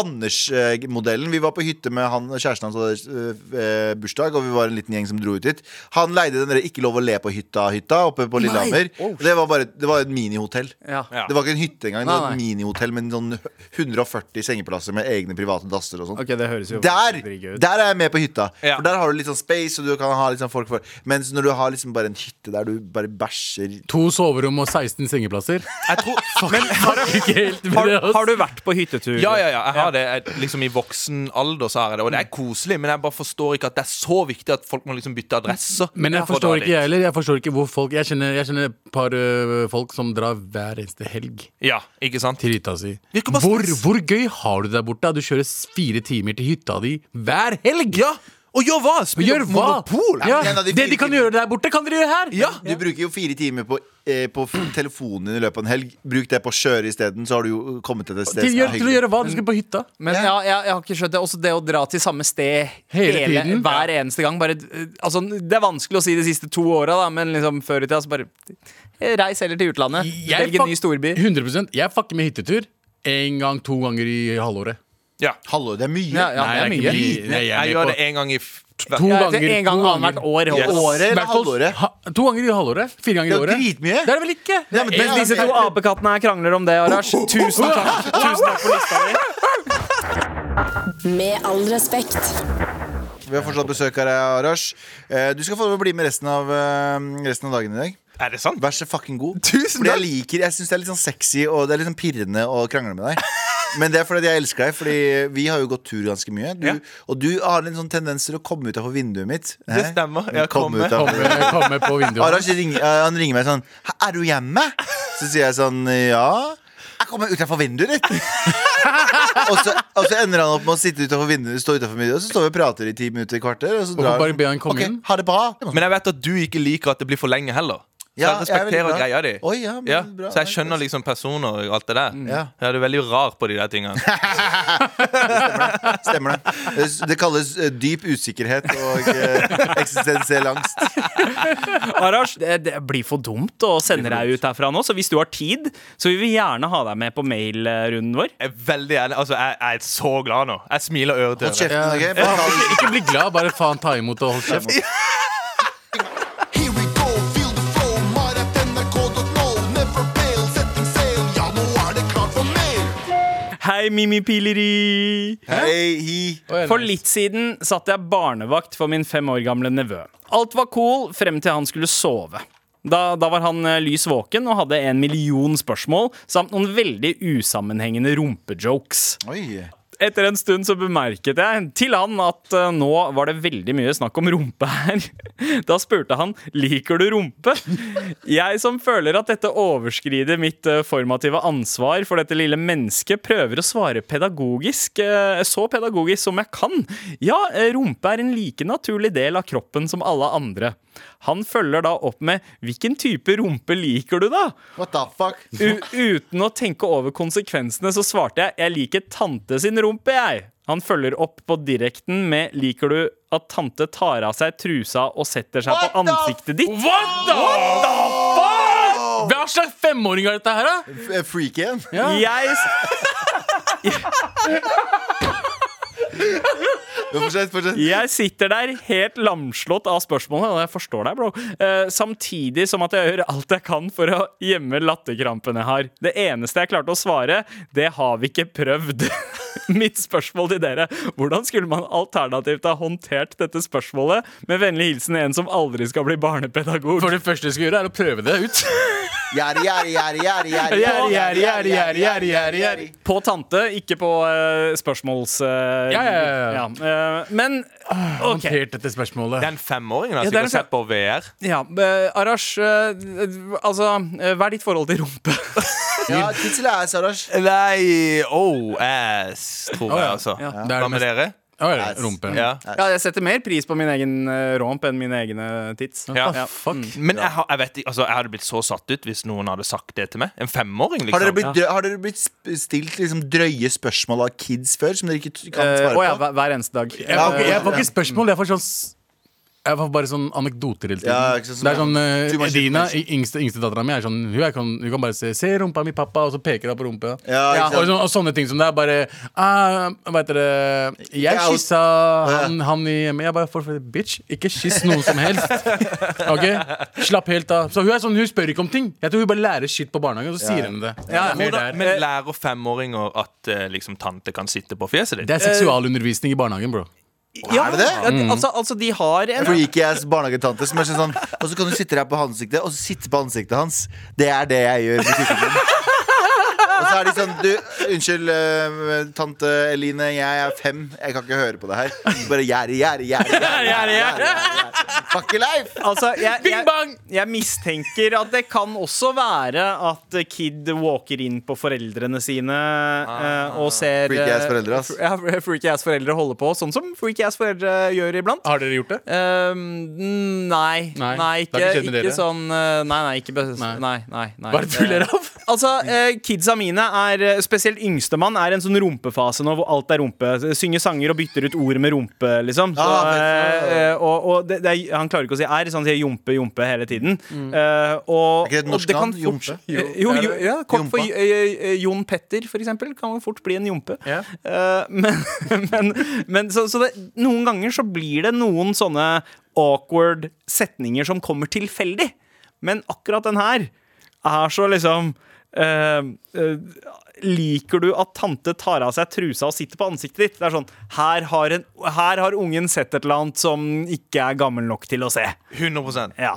Anders-modellen. Vi var på hytte med han og kjæresten hans hadde eh, eh, bursdag, og vi var en liten gjeng som dro ut dit. Han leide den der ikke lov å le på hytta-hytta oppe på Lillehammer. Det var bare det var et minihotell. Ja. Ja. Det var ikke en hytte engang. Det var Nei, et minihotell med sånn 140 sengeplasser med egne private dasser og sånn. Ok, det høres jo Der, veldig gøy ut. der er jeg med på hytta. Ja. For Der har du litt sånn space, og du kan ha litt sånn folk for Mens når du har liksom bare en hytte der du bare bæsjer To soverom og 16 sengeplasser. Jeg tror, Men har du ikke helt med Har, det, ass. har du vært på hyttetur? Ja, ja, ja, jeg har det Jeg- liksom i voksen alder. så har jeg det Og det er koselig, men jeg bare forstår ikke at det er så viktig at folk må liksom bytte adresser. Men jeg For å dra forstår ikke dit. jeg heller. Jeg forstår ikke hvor folk Jeg kjenner, jeg kjenner et par øh, folk som drar hver eneste helg Ja, ikke sant? til hytta si. Virker bare Hvor, stress. hvor gøy har du det der borte? Du kjører s- fire timer til hytta di hver helg! Ja, Og gjør hva? Spille Gjør hva? Monopol? Ja. En av de Det de fire kan gjøre der borte, kan dere gjøre her! Ja. Du bruker jo fire timer på, eh, på f- telefonen din i løpet av en helg. Bruk det på å kjøre isteden, så har du jo kommet til et sted Til, som er gjør, til å hyggelig. gjøre hva? Du skal på hytta. Men ja, jeg, jeg har ikke skjønt det. Også det å dra til samme sted Hele tiden? hver eneste gang. Bare, eh, altså, det er vanskelig å si de siste to åra, da, men liksom før i tida så bare eh, Reis heller til utlandet. Jeg Velg en fuck- ny storby. 100 Jeg fucker med hyttetur én gang, to ganger i halvåret. Ja. Hallo, det er mye. Ja, ja, det er Nei, mye. ikke mye. Nei, Jeg jeg gjør er det med på en gang i f- to Ja, ganger. til en gang to annethvert år. Yes. holdt Året eller Hvert fall- halvåret? Ha, to ganger i halvåret. Fire ganger i Det er året. dritmye. Det er det vel ikke? Ja, men det Mens er- liksom- disse to apekattene her krangler om det, Arash. Tusen takk, tusen takk for lista di. Med all respekt. Vi har fortsatt besøk av deg, Arash. Eh, Du skal få lov å bli med resten av, eh, resten av dagen i dag. Er det sant? Vær så fucking god. Tusen fordi jeg takk. liker, jeg syns det er litt sånn sexy og det er litt sånn pirrende å krangle med deg. Men det er fordi at jeg elsker deg, Fordi vi har jo gått tur ganske mye. Du, Ja. Og du har en sånn tendens til å komme utafor vinduet mitt. Det Hæ? stemmer. Jeg Kom kommer. ut av- Komme, komme på vinduet. Arash ringer, eh, han ringer meg sånn «Hæ, Er du hjemme? Så sier jeg sånn Ja. Jeg kommer utafor vinduet ditt. og, så, og så ender han opp med å sitte utenfor vinduet, stå utenfor vinduet, og så står vi og prater i ti minutter, et kvarter, og så drar bare be han komme Ok, inn? Ha det bra. Men jeg vet at du ikke liker at det blir for lenge heller. Så jeg respekterer greia di. Oi, ja, men Ja, bra, så jeg nice. skjønner liksom personer og alt det der. Ja. Ja, du er veldig rar på de der tingene. Stemmer det. Det kalles eh, dyp usikkerhet og eh, eksistensiell angst. Arash, det, det blir for dumt å sende deg ut herfra nå, så hvis du har tid, så vil vi gjerne ha deg med på mailrunden vår. Jeg er veldig ærlig, altså jeg, jeg er så glad nå. Jeg smiler øre Hold til øre. kjeften, ok? Bare ta den. Ikke bli glad, bare faen ta imot og hold kjeft. Here we go, feel the flow. Maratnrk.no. Never fail, setting sail. Ja, nå er det klart for mer. Hei, Mimipileri! Hei, hi. For litt siden satt jeg barnevakt for min fem år gamle nevø. Alt var cool frem til han skulle sove. Da, da var han eh, lys våken og hadde en million spørsmål samt noen veldig usammenhengende rumpejokes. Oi. Etter en stund så bemerket jeg til han at eh, nå var det veldig mye snakk om rumpe her. Da spurte han liker du rumpe. Jeg som føler at dette overskrider mitt eh, formative ansvar for dette lille mennesket, prøver å svare pedagogisk, eh, så pedagogisk som jeg kan. Ja, eh, rumpe er en like naturlig del av kroppen som alle andre. Han følger da opp med 'hvilken type rumpe liker du', da? What the fuck? U uten å tenke over konsekvensene så svarte jeg Jeg liker tante sin rumpe, jeg. Han følger opp på direkten med Liker du at tante tar av seg trusa og setter seg på ansiktet ditt? What the, fuck?! Hva slags femåring er dette her, da? F- eh, Freaky igjen? Jeg, s- Jo, Fortsett, fortsett. jeg sitter der helt lamslått av spørsmålet, og jeg forstår deg, bro. Eh, samtidig som at jeg gjør alt jeg kan for å gjemme latterkrampen jeg har. Det eneste jeg klarte å svare, det har vi ikke prøvd. Mitt spørsmål til dere Hvordan skulle man alternativt ha håndtert dette spørsmålet? Med vennlig hilsen en som aldri skal bli barnepedagog. For det første du skal gjøre, er å prøve det ut. Gjerde, gjerde, gjerde, gjerde, gjerde. Gjerde, gjerde, gjerde, gjerde, gjerde, gjerde, gjerde. På tante, ikke på eh, spørsmåls... eh, Ja, ja, ja, ja. ja, eh, men OK. Håndtert dette spørsmålet. Den femåringen Ja, har det er en sikkert sett på VR. Ja, eh, Arash, eh, altså, eh, hva er ditt forhold til rumpe? Ja, tits eller ass, Arash? Nei, oh, ass, Å, tror jeg, ja. altså. Ja. Det er Hva det med mest- Mm. dere? Å, ja, rumpe. Ja. Ja, jeg setter mer pris på min egen eh, rump enn mine egne tits. Ja. Ah, fuck. Men jeg, har- jeg vet ikke, altså, jeg hadde blitt så satt ut hvis noen hadde sagt det til meg. En femåring, liksom. Har dere blitt, drø har dere blitt sp- stilt liksom drøye spørsmål av kids før som dere ikke t- kan Eh, svare Å ja, på? hver, hver eneste dag. Jeg får, ikke- Eh, jeg får ikke spørsmål. Jeg får sånn s- jeg får bare sånn anekdoter hele tiden. Ja, ikke sant, det er sånn eh, too much Edina, information. i- yngste, yngste dattera mi, er sånn hun, er, kan, hun kan bare se 'Se rumpa mi, pappa', og så peker hun på rumpa. Ja, ikke og, sant. sånn- og sånne ting som det er bare ah, Hva heter det Jeg Out. kyssa han, han i hjemmet. Jeg bare for, for, Bitch, ikke kyss noen som helst. Ok? Slapp helt av. Så hun er sånn, hun spør ikke om ting. Jeg tror hun bare lærer shit på barnehagen, og så sier hun det. Ja, Mer hvordan- der. Eh. Men lærer femåringer at eh, liksom, tante kan sitte på fjeset ditt? det er seksualundervisning i barnehagen, bro. ja, Er det det? ja, de- altså, altså, de har en Freaky ass barnehagetante som er sånn sånn Og så kan du sitte der på ansiktet Og så sitte på ansiktet hans Det er det jeg gjør med tissen min. Og så er de sånn Du, unnskyld eh, Tante Eline Jeg er fem Jeg kan ikke høre på det her Bare gjerde, gjerde, gjerde Gjerde, gjerde, Fuck your life Altså, jeg, Bing jeg, bang! jeg mistenker at det kan også være at kid walker inn på foreldrene sine eh, Ah. og ser Freaky ass eh, foreldre, ass. fr- Ja, freaky ass foreldre holder på, sånn som freaky ass foreldre gjør iblant. Har dere gjort det? Eh, nei, nei, Nei, det ikke, har ikke skjedd med ikke dere? sånn eh, Nei, nei, ikke bes- Nei. Nei, nei, nei. Hva er det du ler av? Altså, eh, kidsa mine er eh, Spesielt yngstemann er i en sånn rumpefase nå hvor alt er rumpe. Synger sanger og bytter ut ord med rumpe, liksom. Så, Ah, fett. eh, eh, og og det, det er, han klarer ikke å si r, så han sier jompe, jompe hele tiden. Eh, og, Er ikke det et norsk og kan navn? fort- Jompe? Jo, jo, jo, ja, kort for Jompa. eh, eh, Jon Petter, for eksempel, kan jo fort bli en jompe. Ja. Eh, men men, men så, så det, noen ganger så blir det noen sånne awkward setninger som kommer tilfeldig. Men akkurat den her er så liksom eh, eh, Liker du at tante tar av seg trusa og sitter på ansiktet ditt? Det er sånn, her har, en, her har ungen sett et eller annet som ikke er gammel nok til å se. 100 Ja.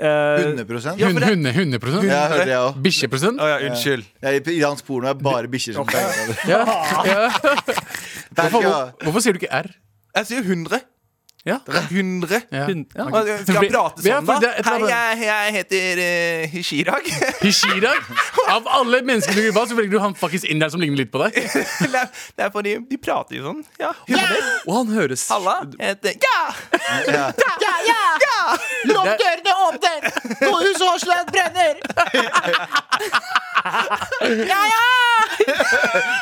Eh, 100% Hunde, hunde, hundeprosent? Ja, hørte jeg også Bikkjeprosent? Å ja, unnskyld. Jeg er i iransk porno er bare bikkjer som tegner Ja. Ja. Hvorfor, Berka. hvor- hvorfor sier du ikke R? Jeg sier 100. Ja. 100. Ja. hun- ja. Ok. Altså, Skal jeg prate Ja, sånn, for da? det er et eller Hei, annet- jeg, jeg heter eh, Hishirag. Hishirag? Av alle mennesker du kunne valgt, så velger du han faktisk inderen som ligner litt på deg. det er- det er fordi de prater jo sånn. Ja. Og han høres Halla. Jeg heter Ja! Ja. Ja! Lukk dørene åpne! Nordhus og Aasland brenner! Ja, ja! Det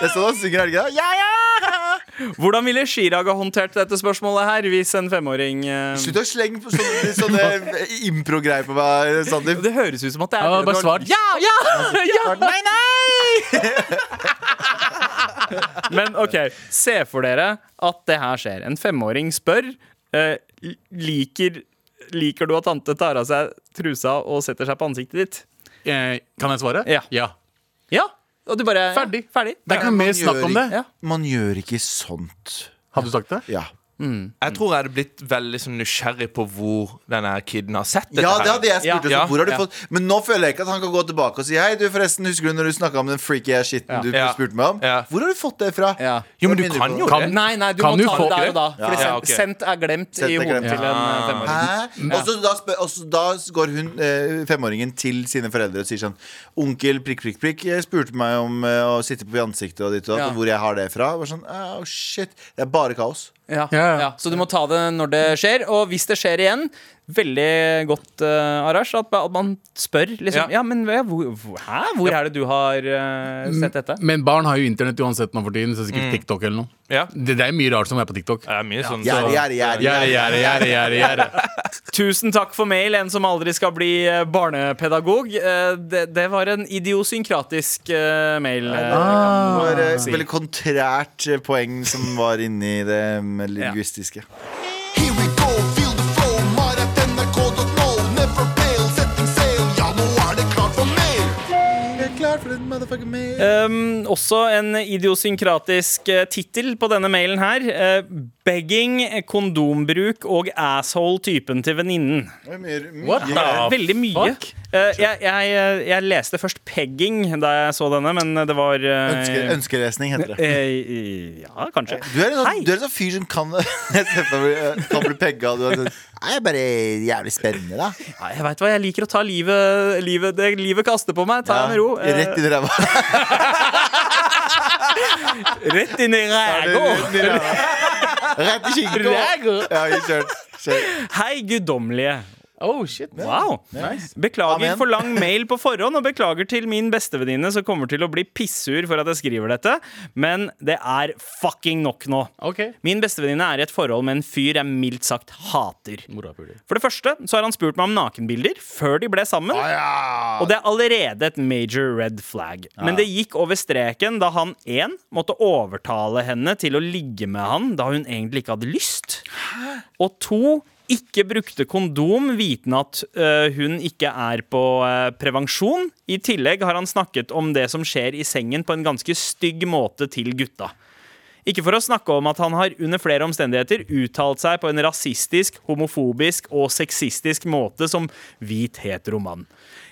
er sånn han synger, er det ikke det? Ja, ja! Hvordan ville Chirag ha håndtert dette spørsmålet her hvis en femåring eh, Slutt å slenge på sånne, sånne impro-greier på meg, Sandeep. Det høres ut som at det Ja, er bare svar. Ja, Altså, ja, ja! Nei, nei! Men OK, se for dere at det her skjer. En femåring spør eh, liker, liker du at tante tar av seg trusa og setter seg på ansiktet ditt. Eh, Kan jeg svare? Ja. Ja, og du bare Ferdig. Ja, ferdig. Det er ikke mer snakk om det. Ja. Man gjør ikke sånt. Har du sagt det? Ja. Jeg tror jeg hadde blitt veldig sånn nysgjerrig på hvor denne kiden har sett dette. Ja, det her. hadde jeg spurt også. Ja. Ja. Hvor har du Ja. fått Men nå føler jeg ikke at han kan gå tilbake og si Hei, du forresten, husker du når du snakka om den freaky ass shiten du Ja. spurte meg om? Ja. Hvor har du fått det fra? Ja. Jo, men Det du minner kan på- jo Kan- Nei, nei, du Kan må du ta få det der grep? og da. Ja. Fordi Ja, sendt, ok. sendt er glemt Sendt i er hodet glemt. til en eh, femåring. Hæ? Og så da, spør- og så da går hun eh, femåringen til sine foreldre og sier sånn Onkel prikk, prikk, prikk eh, spurte meg om eh, å sitte på i ansiktet og ditt og datt, Ja. og hvor jeg har det fra. Og var sånn, oh, shit, Det er bare kaos. Ja. Ja. Ja. Så du må ta det når det skjer. Og hvis det skjer igjen, veldig godt, uh, Arash, at, at man spør liksom Ja. Ja, men hva- hvor, hvor- hæ? hvor er det du har eh, sett dette? Men barn har jo internett uansett nå for tiden, så sikkert TikTok eller noe. Ja. Det, det er mye rart som er på TikTok. Det er mye sånn Gjerde, så- gjerde, gjerde. Gjerde, gjerde, gjerde, gjerde, gjerde. mm. Tusen takk for mail, en som aldri skal bli eh, barnepedagog. Eh, Det, det var en idiosynkratisk eh, mail. eh, Det kan var man eh, si. veldig kontrært eh, poeng som var inni det mm, linguistiske. Here we go, feel the flow, mar at nrk.no. Never fail, setting sail, ja, nå er det klart for mer. Jeg er klar for en motherfucker mail. Um, også en idiosynkratisk uh, tittel på denne mailen her. Eh, begging, kondombruk og asshole-typen til venninnen. Det er mye- mye- What the Eh, Veldig mye. fuck? Eh, jeg, jeg, jeg leste først pegging da jeg så denne, men det var eh, Ønske, ønskelesning heter det. eh, Ja, kanskje. Du er en Hei. sånn, du er en sånn fyr som kan, jeg ser for meg, kan bli pegga. Du er sånn Nei, jeg er bare jævlig spennende, da. Ja, jeg veit hva, jeg liker å ta livet, livet det livet kaster på meg. Ta Ja, det med ro. Eh, Rett i ræva. rett inn i ræga. Rett i ræva. Rett i skinka. Ja, vi kjørt. Kjørt. Hei, guddommelige. Oh, shit. Wow. Beklager Amen. for lang mail på forhånd, og beklager til min bestevenninne som kommer til å bli pissur for at jeg skriver dette, men det er fucking nok nå. Ok. Min bestevenninne er i et forhold med en fyr jeg mildt sagt hater. Morapuler. For det første så har han spurt meg om nakenbilder før de ble sammen. Og det er allerede et major red flag. Men det gikk over streken da han 1. måtte overtale henne til å ligge med han da hun egentlig ikke hadde lyst. Og 2. ikke brukte kondom vitende at øh, hun ikke er på øh, prevensjon. I tillegg har han snakket om det som skjer i sengen på en ganske stygg måte til gutta. Ikke for å snakke om at han har under flere omstendigheter uttalt seg på en rasistisk, homofobisk og sexistisk måte som hvit heteroman.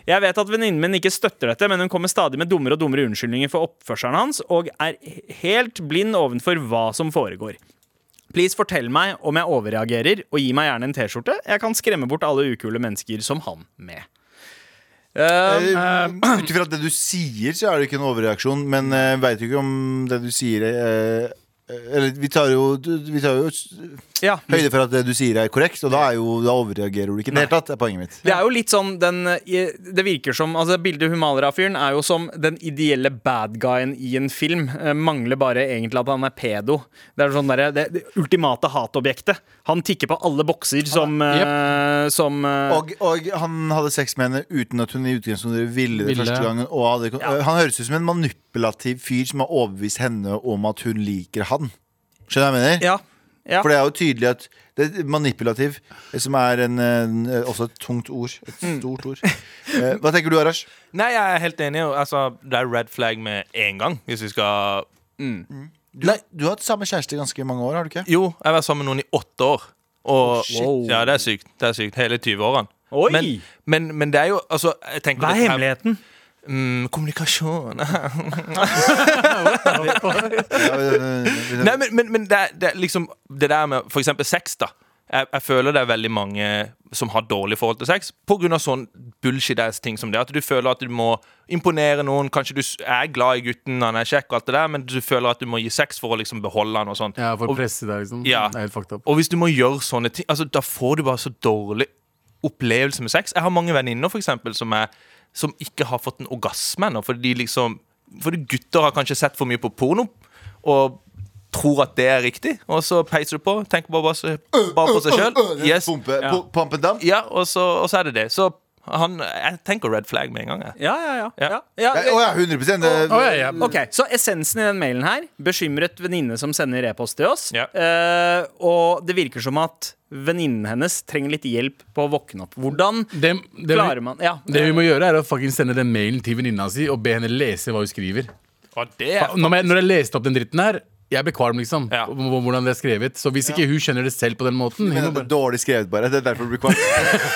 Jeg vet at venninnen min ikke støtter dette, men hun kommer stadig med dummere og dummere unnskyldninger for oppførselen hans, og er helt blind ovenfor hva som foregår. Please fortell meg om jeg overreagerer, og gi meg gjerne en T-skjorte. Jeg kan skremme bort alle ukule mennesker som han med. Eh, Eh, Ut ifra det du sier, så er det ikke en overreaksjon, men uh, veit jo ikke om det du sier eh, Eller vi tar jo, vi tar jo s- ja. høyde for at det du sier, er korrekt, og da, er jo, da overreagerer du ikke. i Det hele tatt er poenget mitt. Det er jo litt sånn den, eh, Det virker som altså Bildet hun maler av fyren, er jo som den ideelle bad guyen i en film. Eh, Mangler bare egentlig at han er pedo. Det er sånn derre- det, det ultimate hatobjektet. Han tikker på alle bokser som, eh, som eh, Og, og han hadde sex med henne uten at hun i utgangspunktet ville det Ville. første gangen. Og hadde, Han høres ut som en manipulativ fyr som har overbevist henne om at hun liker han. Skjønner du hva jeg mener? Ja. ja. For det er jo tydelig at det er manipulativ, eh, som er en, en, eh, også et tungt ord. Et stort ord. Eh, Hva tenker du, Arash? Nei, jeg er helt enig. Altså, det er red flag med en gang. Hvis vi skal Du, du har hatt samme kjæreste i ganske mange år, har du ikke? Jo, jeg har vært sammen med noen i åtte år. Og, Wow. Ja, det er sykt. Det er sykt. Hele 20-årene. Oi! Men, men, men det er jo altså, jeg tenker Hva er litt her- hemmeligheten? Mm, kommunikasjon. Ja, eh, Nei, men, men, men det, er- det, er liksom, det der med for eksempel sex, da. Jeg, jeg føler det er veldig mange som har dårlig forhold til sex pga. sånn bullshit-ass ting som det. At du føler at du må imponere noen. Kanskje du s- er glad i gutten, han er kjekk, og alt det der, men du føler at du må gi sex for å liksom beholde han. og sånn Ja, for og, presse der, liksom. Ja. Det er helt fucked up. og hvis du må gjøre sånne ting, altså, da får du bare så dårlig opplevelse med sex. Jeg har mange venninner for eksempel, som, er, som ikke har fått en orgasme ennå. Fordi, liksom, fordi gutter har kanskje sett for mye på porno og tror at det er riktig. Og så peiser du på, tenker bare, bare, bare på seg sjøl. Yes. Pumpe, pu- pump and dump. Ja, og så, og så er det det. Så han, jeg tenker red flag med en gang. Jeg. Ja, ja, ja. Ja. ja. ja, Å ja, 100 det- Å, ja, ja. Ok, Så essensen i den mailen her Bekymret venninne som sender e-post til oss. Ja. Eh, og det virker som at venninnen hennes trenger litt hjelp på å våkne opp. Hvordan Det, det, klarer man Ja, det vi må gjøre, er å fucking sende den mailen til venninna si og be henne lese hva hun skriver. Og det Fa- Når jeg, når jeg leste opp den dritten her, jeg ble kvalm, liksom. Ja. om- om Hvordan det er skrevet. Så hvis ikke hun skjønner det selv på den måten Men hun må det er bare... dårlig skrevet, bare. Det er derfor det blir kvalm.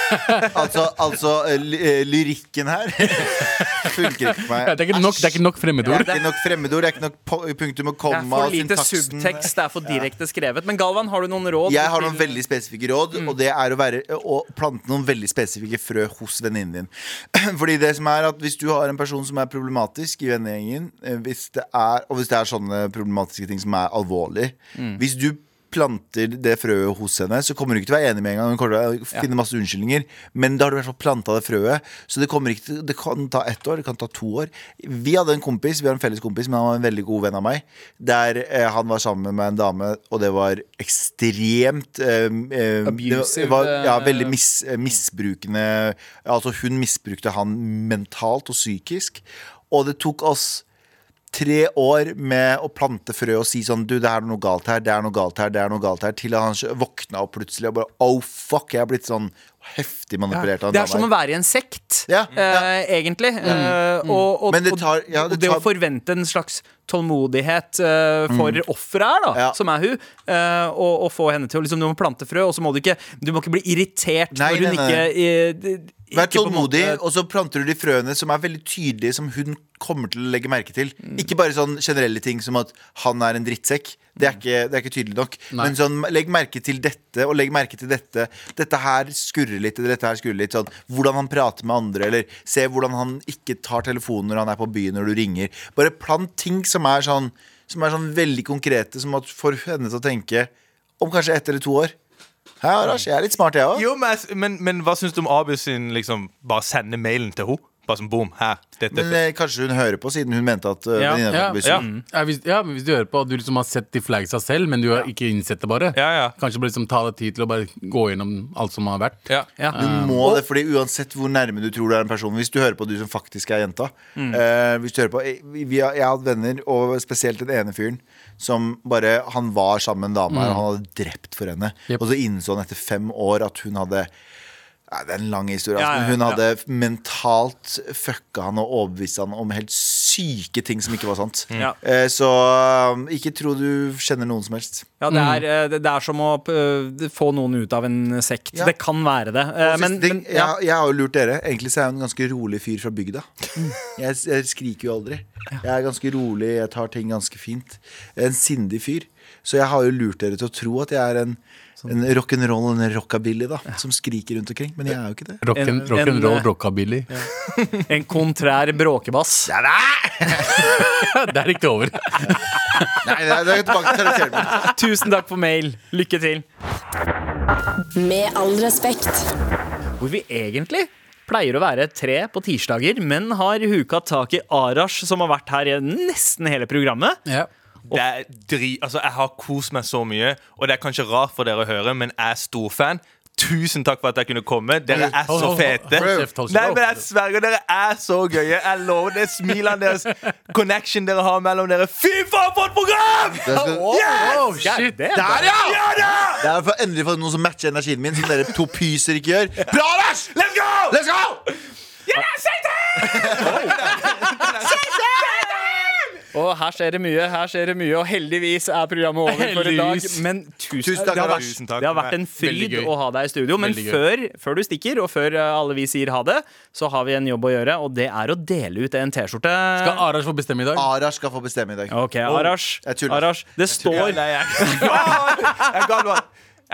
altså, altså eh, ly- eh, lyrikken her funker ikke for ja, meg. det, er ikke nok, det er ikke nok Det fremmedord. er ikke nok fremmedord, det er ikke nok po- punktum og Det er komma. for og lite syntaksen. subtekst, det er for direkte skrevet. Men Galvan, har du noen råd? Jeg har noen til- veldig spesifikke råd, Mm. og det er å, være, å plante noen veldig spesifikke frø hos venninnen din. Fordi det som er at Hvis du har en person som er problematisk i vennegjengen, eh, hvis det er- og hvis det er sånne problematiske ting som er alvorlig Mm. Hvis du planter det frøet hos henne, så kommer du ikke til å være enig med en gang. Hun kommer til å finne masse unnskyldninger Men da har du i hvert fall planta det frøet. Så det, kommer ikke til, det kan ta ett år, det kan ta to år. Vi hadde en kompis, vi har en felles kompis, men han var en veldig god venn av meg. Der eh, han var sammen med en dame, og det var ekstremt eh, eh, Abusive, det var, Ja, veldig eh, mis, misbrukende Altså, hun misbrukte han mentalt og psykisk. Og det tok oss tre år med å plante frø og si sånn Du, det er noe galt her, det er noe galt her, det er noe galt her. Til han skj- våkna opp plutselig og bare Oh, fuck, jeg har blitt sånn heftig manipulert av Det en er som å dame. her. være i en sekt, Ja, Mm. eh, egentlig. Eh, og, og, Men det tar- ja, og det det tar- å Mm. forvente en slags tålmodighet eh, for offeret her, da, Ja. som er hun, eh, og, og få henne til å liksom, Du må plante frø, og så må du ikke Du må ikke bli irritert Nei, når nei, hun nei. ikke eh, d- Vær ikke på en tålmodig, måte- og så planter du de frøene som er veldig tydelige, som hun kommer til å legge merke til. Ikke bare sånn generelle ting som at han er en drittsekk. Det er ikke, det er ikke tydelig nok. Men sånn, legg merke til dette, og legg merke til dette. Dette her skurrer litt, eller dette her skurrer litt. Sånn, hvordan han prater med andre, eller se hvordan han ikke tar telefonen når han er på byen når du ringer. Bare plant ting som er sånn, som er sånn veldig konkrete, som at får henne til å tenke om kanskje ett eller to år. Hæ, Arash, jeg er litt smart, jeg òg. Jo, men, men, men hva syns du om Abu sin liksom Bare sende mailen til henne? Bare sånn boom, her. Dette, Men eh, kanskje hun hører på, siden hun mente at eh, Ja, venninna Ja, tok ja. bussen. Ja, hvis, ja, men hvis du hører på at du liksom har sett de flagsa selv, men du har ikke innsett det bare, Ja, ja. kanskje bare liksom ta deg tid til å bare gå gjennom alt som har vært. ja. ja. Du må det, fordi uansett hvor nærme du tror du er en person Hvis du hører på du som faktisk er jenta Mm. eh, Hvis du hører på eh, vi, vi har, Jeg har hatt venner, og spesielt den ene fyren Som bare, han var sammen med en dame Mm. her, Og han hadde drept for henne Jep. Og så innså han etter fem år at hun hadde Nei, det er en lang historie altså, Ja, ja, Men hun ja. hadde mentalt fucka han Og overbevist han om helt syke ting Som ikke var sant Ja. Eh, Så eh, ikke tro du kjenner noen som helst Ja, det er, eh, det- det er som å eh, få noen ut av en sekt. Ja. Det kan være det. Eh, Siste men, ting, men ja. jeg, jeg har jo lurt dere. Egentlig så er jeg en ganske rolig fyr fra bygda. Mm. Jeg, jeg skriker jo aldri. Jeg er ganske rolig, jeg tar ting ganske fint. Jeg er en sindig fyr. Så jeg har jo lurt dere til å tro at jeg er en, Sånn. en rock'n'roll og en rockabilly da som skriker rundt omkring. Men jeg er jo ikke det. Rock'n'roll, En- rock en, and roll, eh, rockabilly. En kontrær bråkebass. Der gikk det over. Nei, nei, det er tilbake til karakteren min. Tusen takk for mail. Lykke til. Med all respekt. hvor vi egentlig pleier å være tre på tirsdager, men har huka tak i Arash, som har vært her i nesten hele programmet. Ja. Det er dri, altså, jeg har kost meg så mye, og det er kanskje rart for dere å høre, men jeg er stor fan. Tusen takk for at jeg kunne komme. Dere er Hold- så hold- fete. hold kjeft, hold kjeft. Nei, men jeg sverger, dere er så gøye. Jeg lover det. Smilene deres, connection dere har mellom dere. Fy faen, for et program! Det skal- Oh, shit. Der, ja! Ja da! Jeg har for- endelig fått noen som matcher energien min, som dere to pyser ikke gjør. Bra, Lars! Let's go! Let's go! Og her skjer det mye, her skjer det mye, og heldigvis er programmet over for i dag. Heldigvis. Men tusen, Tusen takk, det, har Arash. vært, det har vært en Veldig fryd gøy. å ha deg i studio. Men Veldig gøy. før, før du stikker, og før eh, alle vi sier ha det, så har vi en jobb å gjøre, og det er å dele ut en T-skjorte. Skal Arash få bestemme i dag? Arash skal få bestemme i dag. OK, Arash. Jeg tuller. Arash. Det står Nei, jeg, Faen! jeg, kan bare-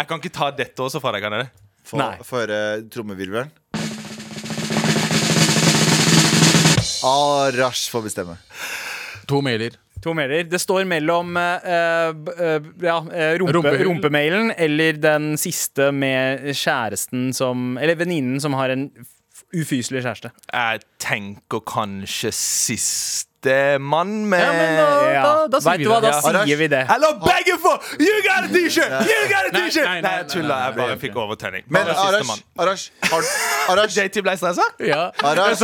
jeg kan ikke ta dette også fra deg, kan jeg det? Få Nei. få høre trommevirvelen. Arash får bestemme. To mailer. To mailer. Det står mellom eh, b- eh, ja, eh, rumpe, Rumpehull. rumpemailen eller den siste med kjæresten som Eller venninnen som har en f- ufyselig kjæreste. Jeg tenker kanskje siste mann med Ja, men da, Ja. da, da sier Vet vi du hva, det. da Ja. sier vi det. Eller begge for You got a t-shirt! You got a Nei, t-shirt! nei, nei, Nei, jeg nei, tuller. nei, Jeg bare fikk overtenning. Men Bare siste Arash, mann. Arash, har, Arash, JT ble stressa? Ja. Arash,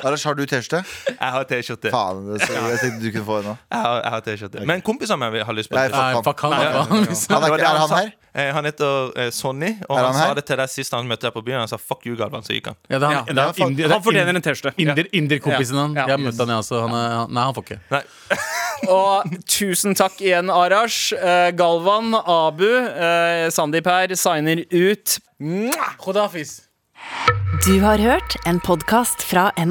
Arash, har du T-skjorte? Jeg har T-skjorte. Faen, det så, jeg tenkte du kunne få en nå. Jeg har, jeg har T-skjorte Men kompisen min har lyst på Nei, det. Nei, fuck han. Nei, faen. Han er, ikke- er han sa. her? Eh, Han heter eh, Sonny, og Er han han, her? sa det til deg sist han møtte deg på byen. Han sa 'fuck you, Galvan', så gikk han. Ja, det er han, det er han, Ja, fuck. indier- det er Han fortjener ind- en T-skjorte. Inder, Inderkompisen han. Ja. Jeg har møtt han, jeg også. Han er, han, nei, han får ikke. Nei. Og tusen takk igjen, Arash. Eh, Galvan, Abu, eh, Sandeep her signer ut. Khodafis. Du har hørt en podkast fra NRK.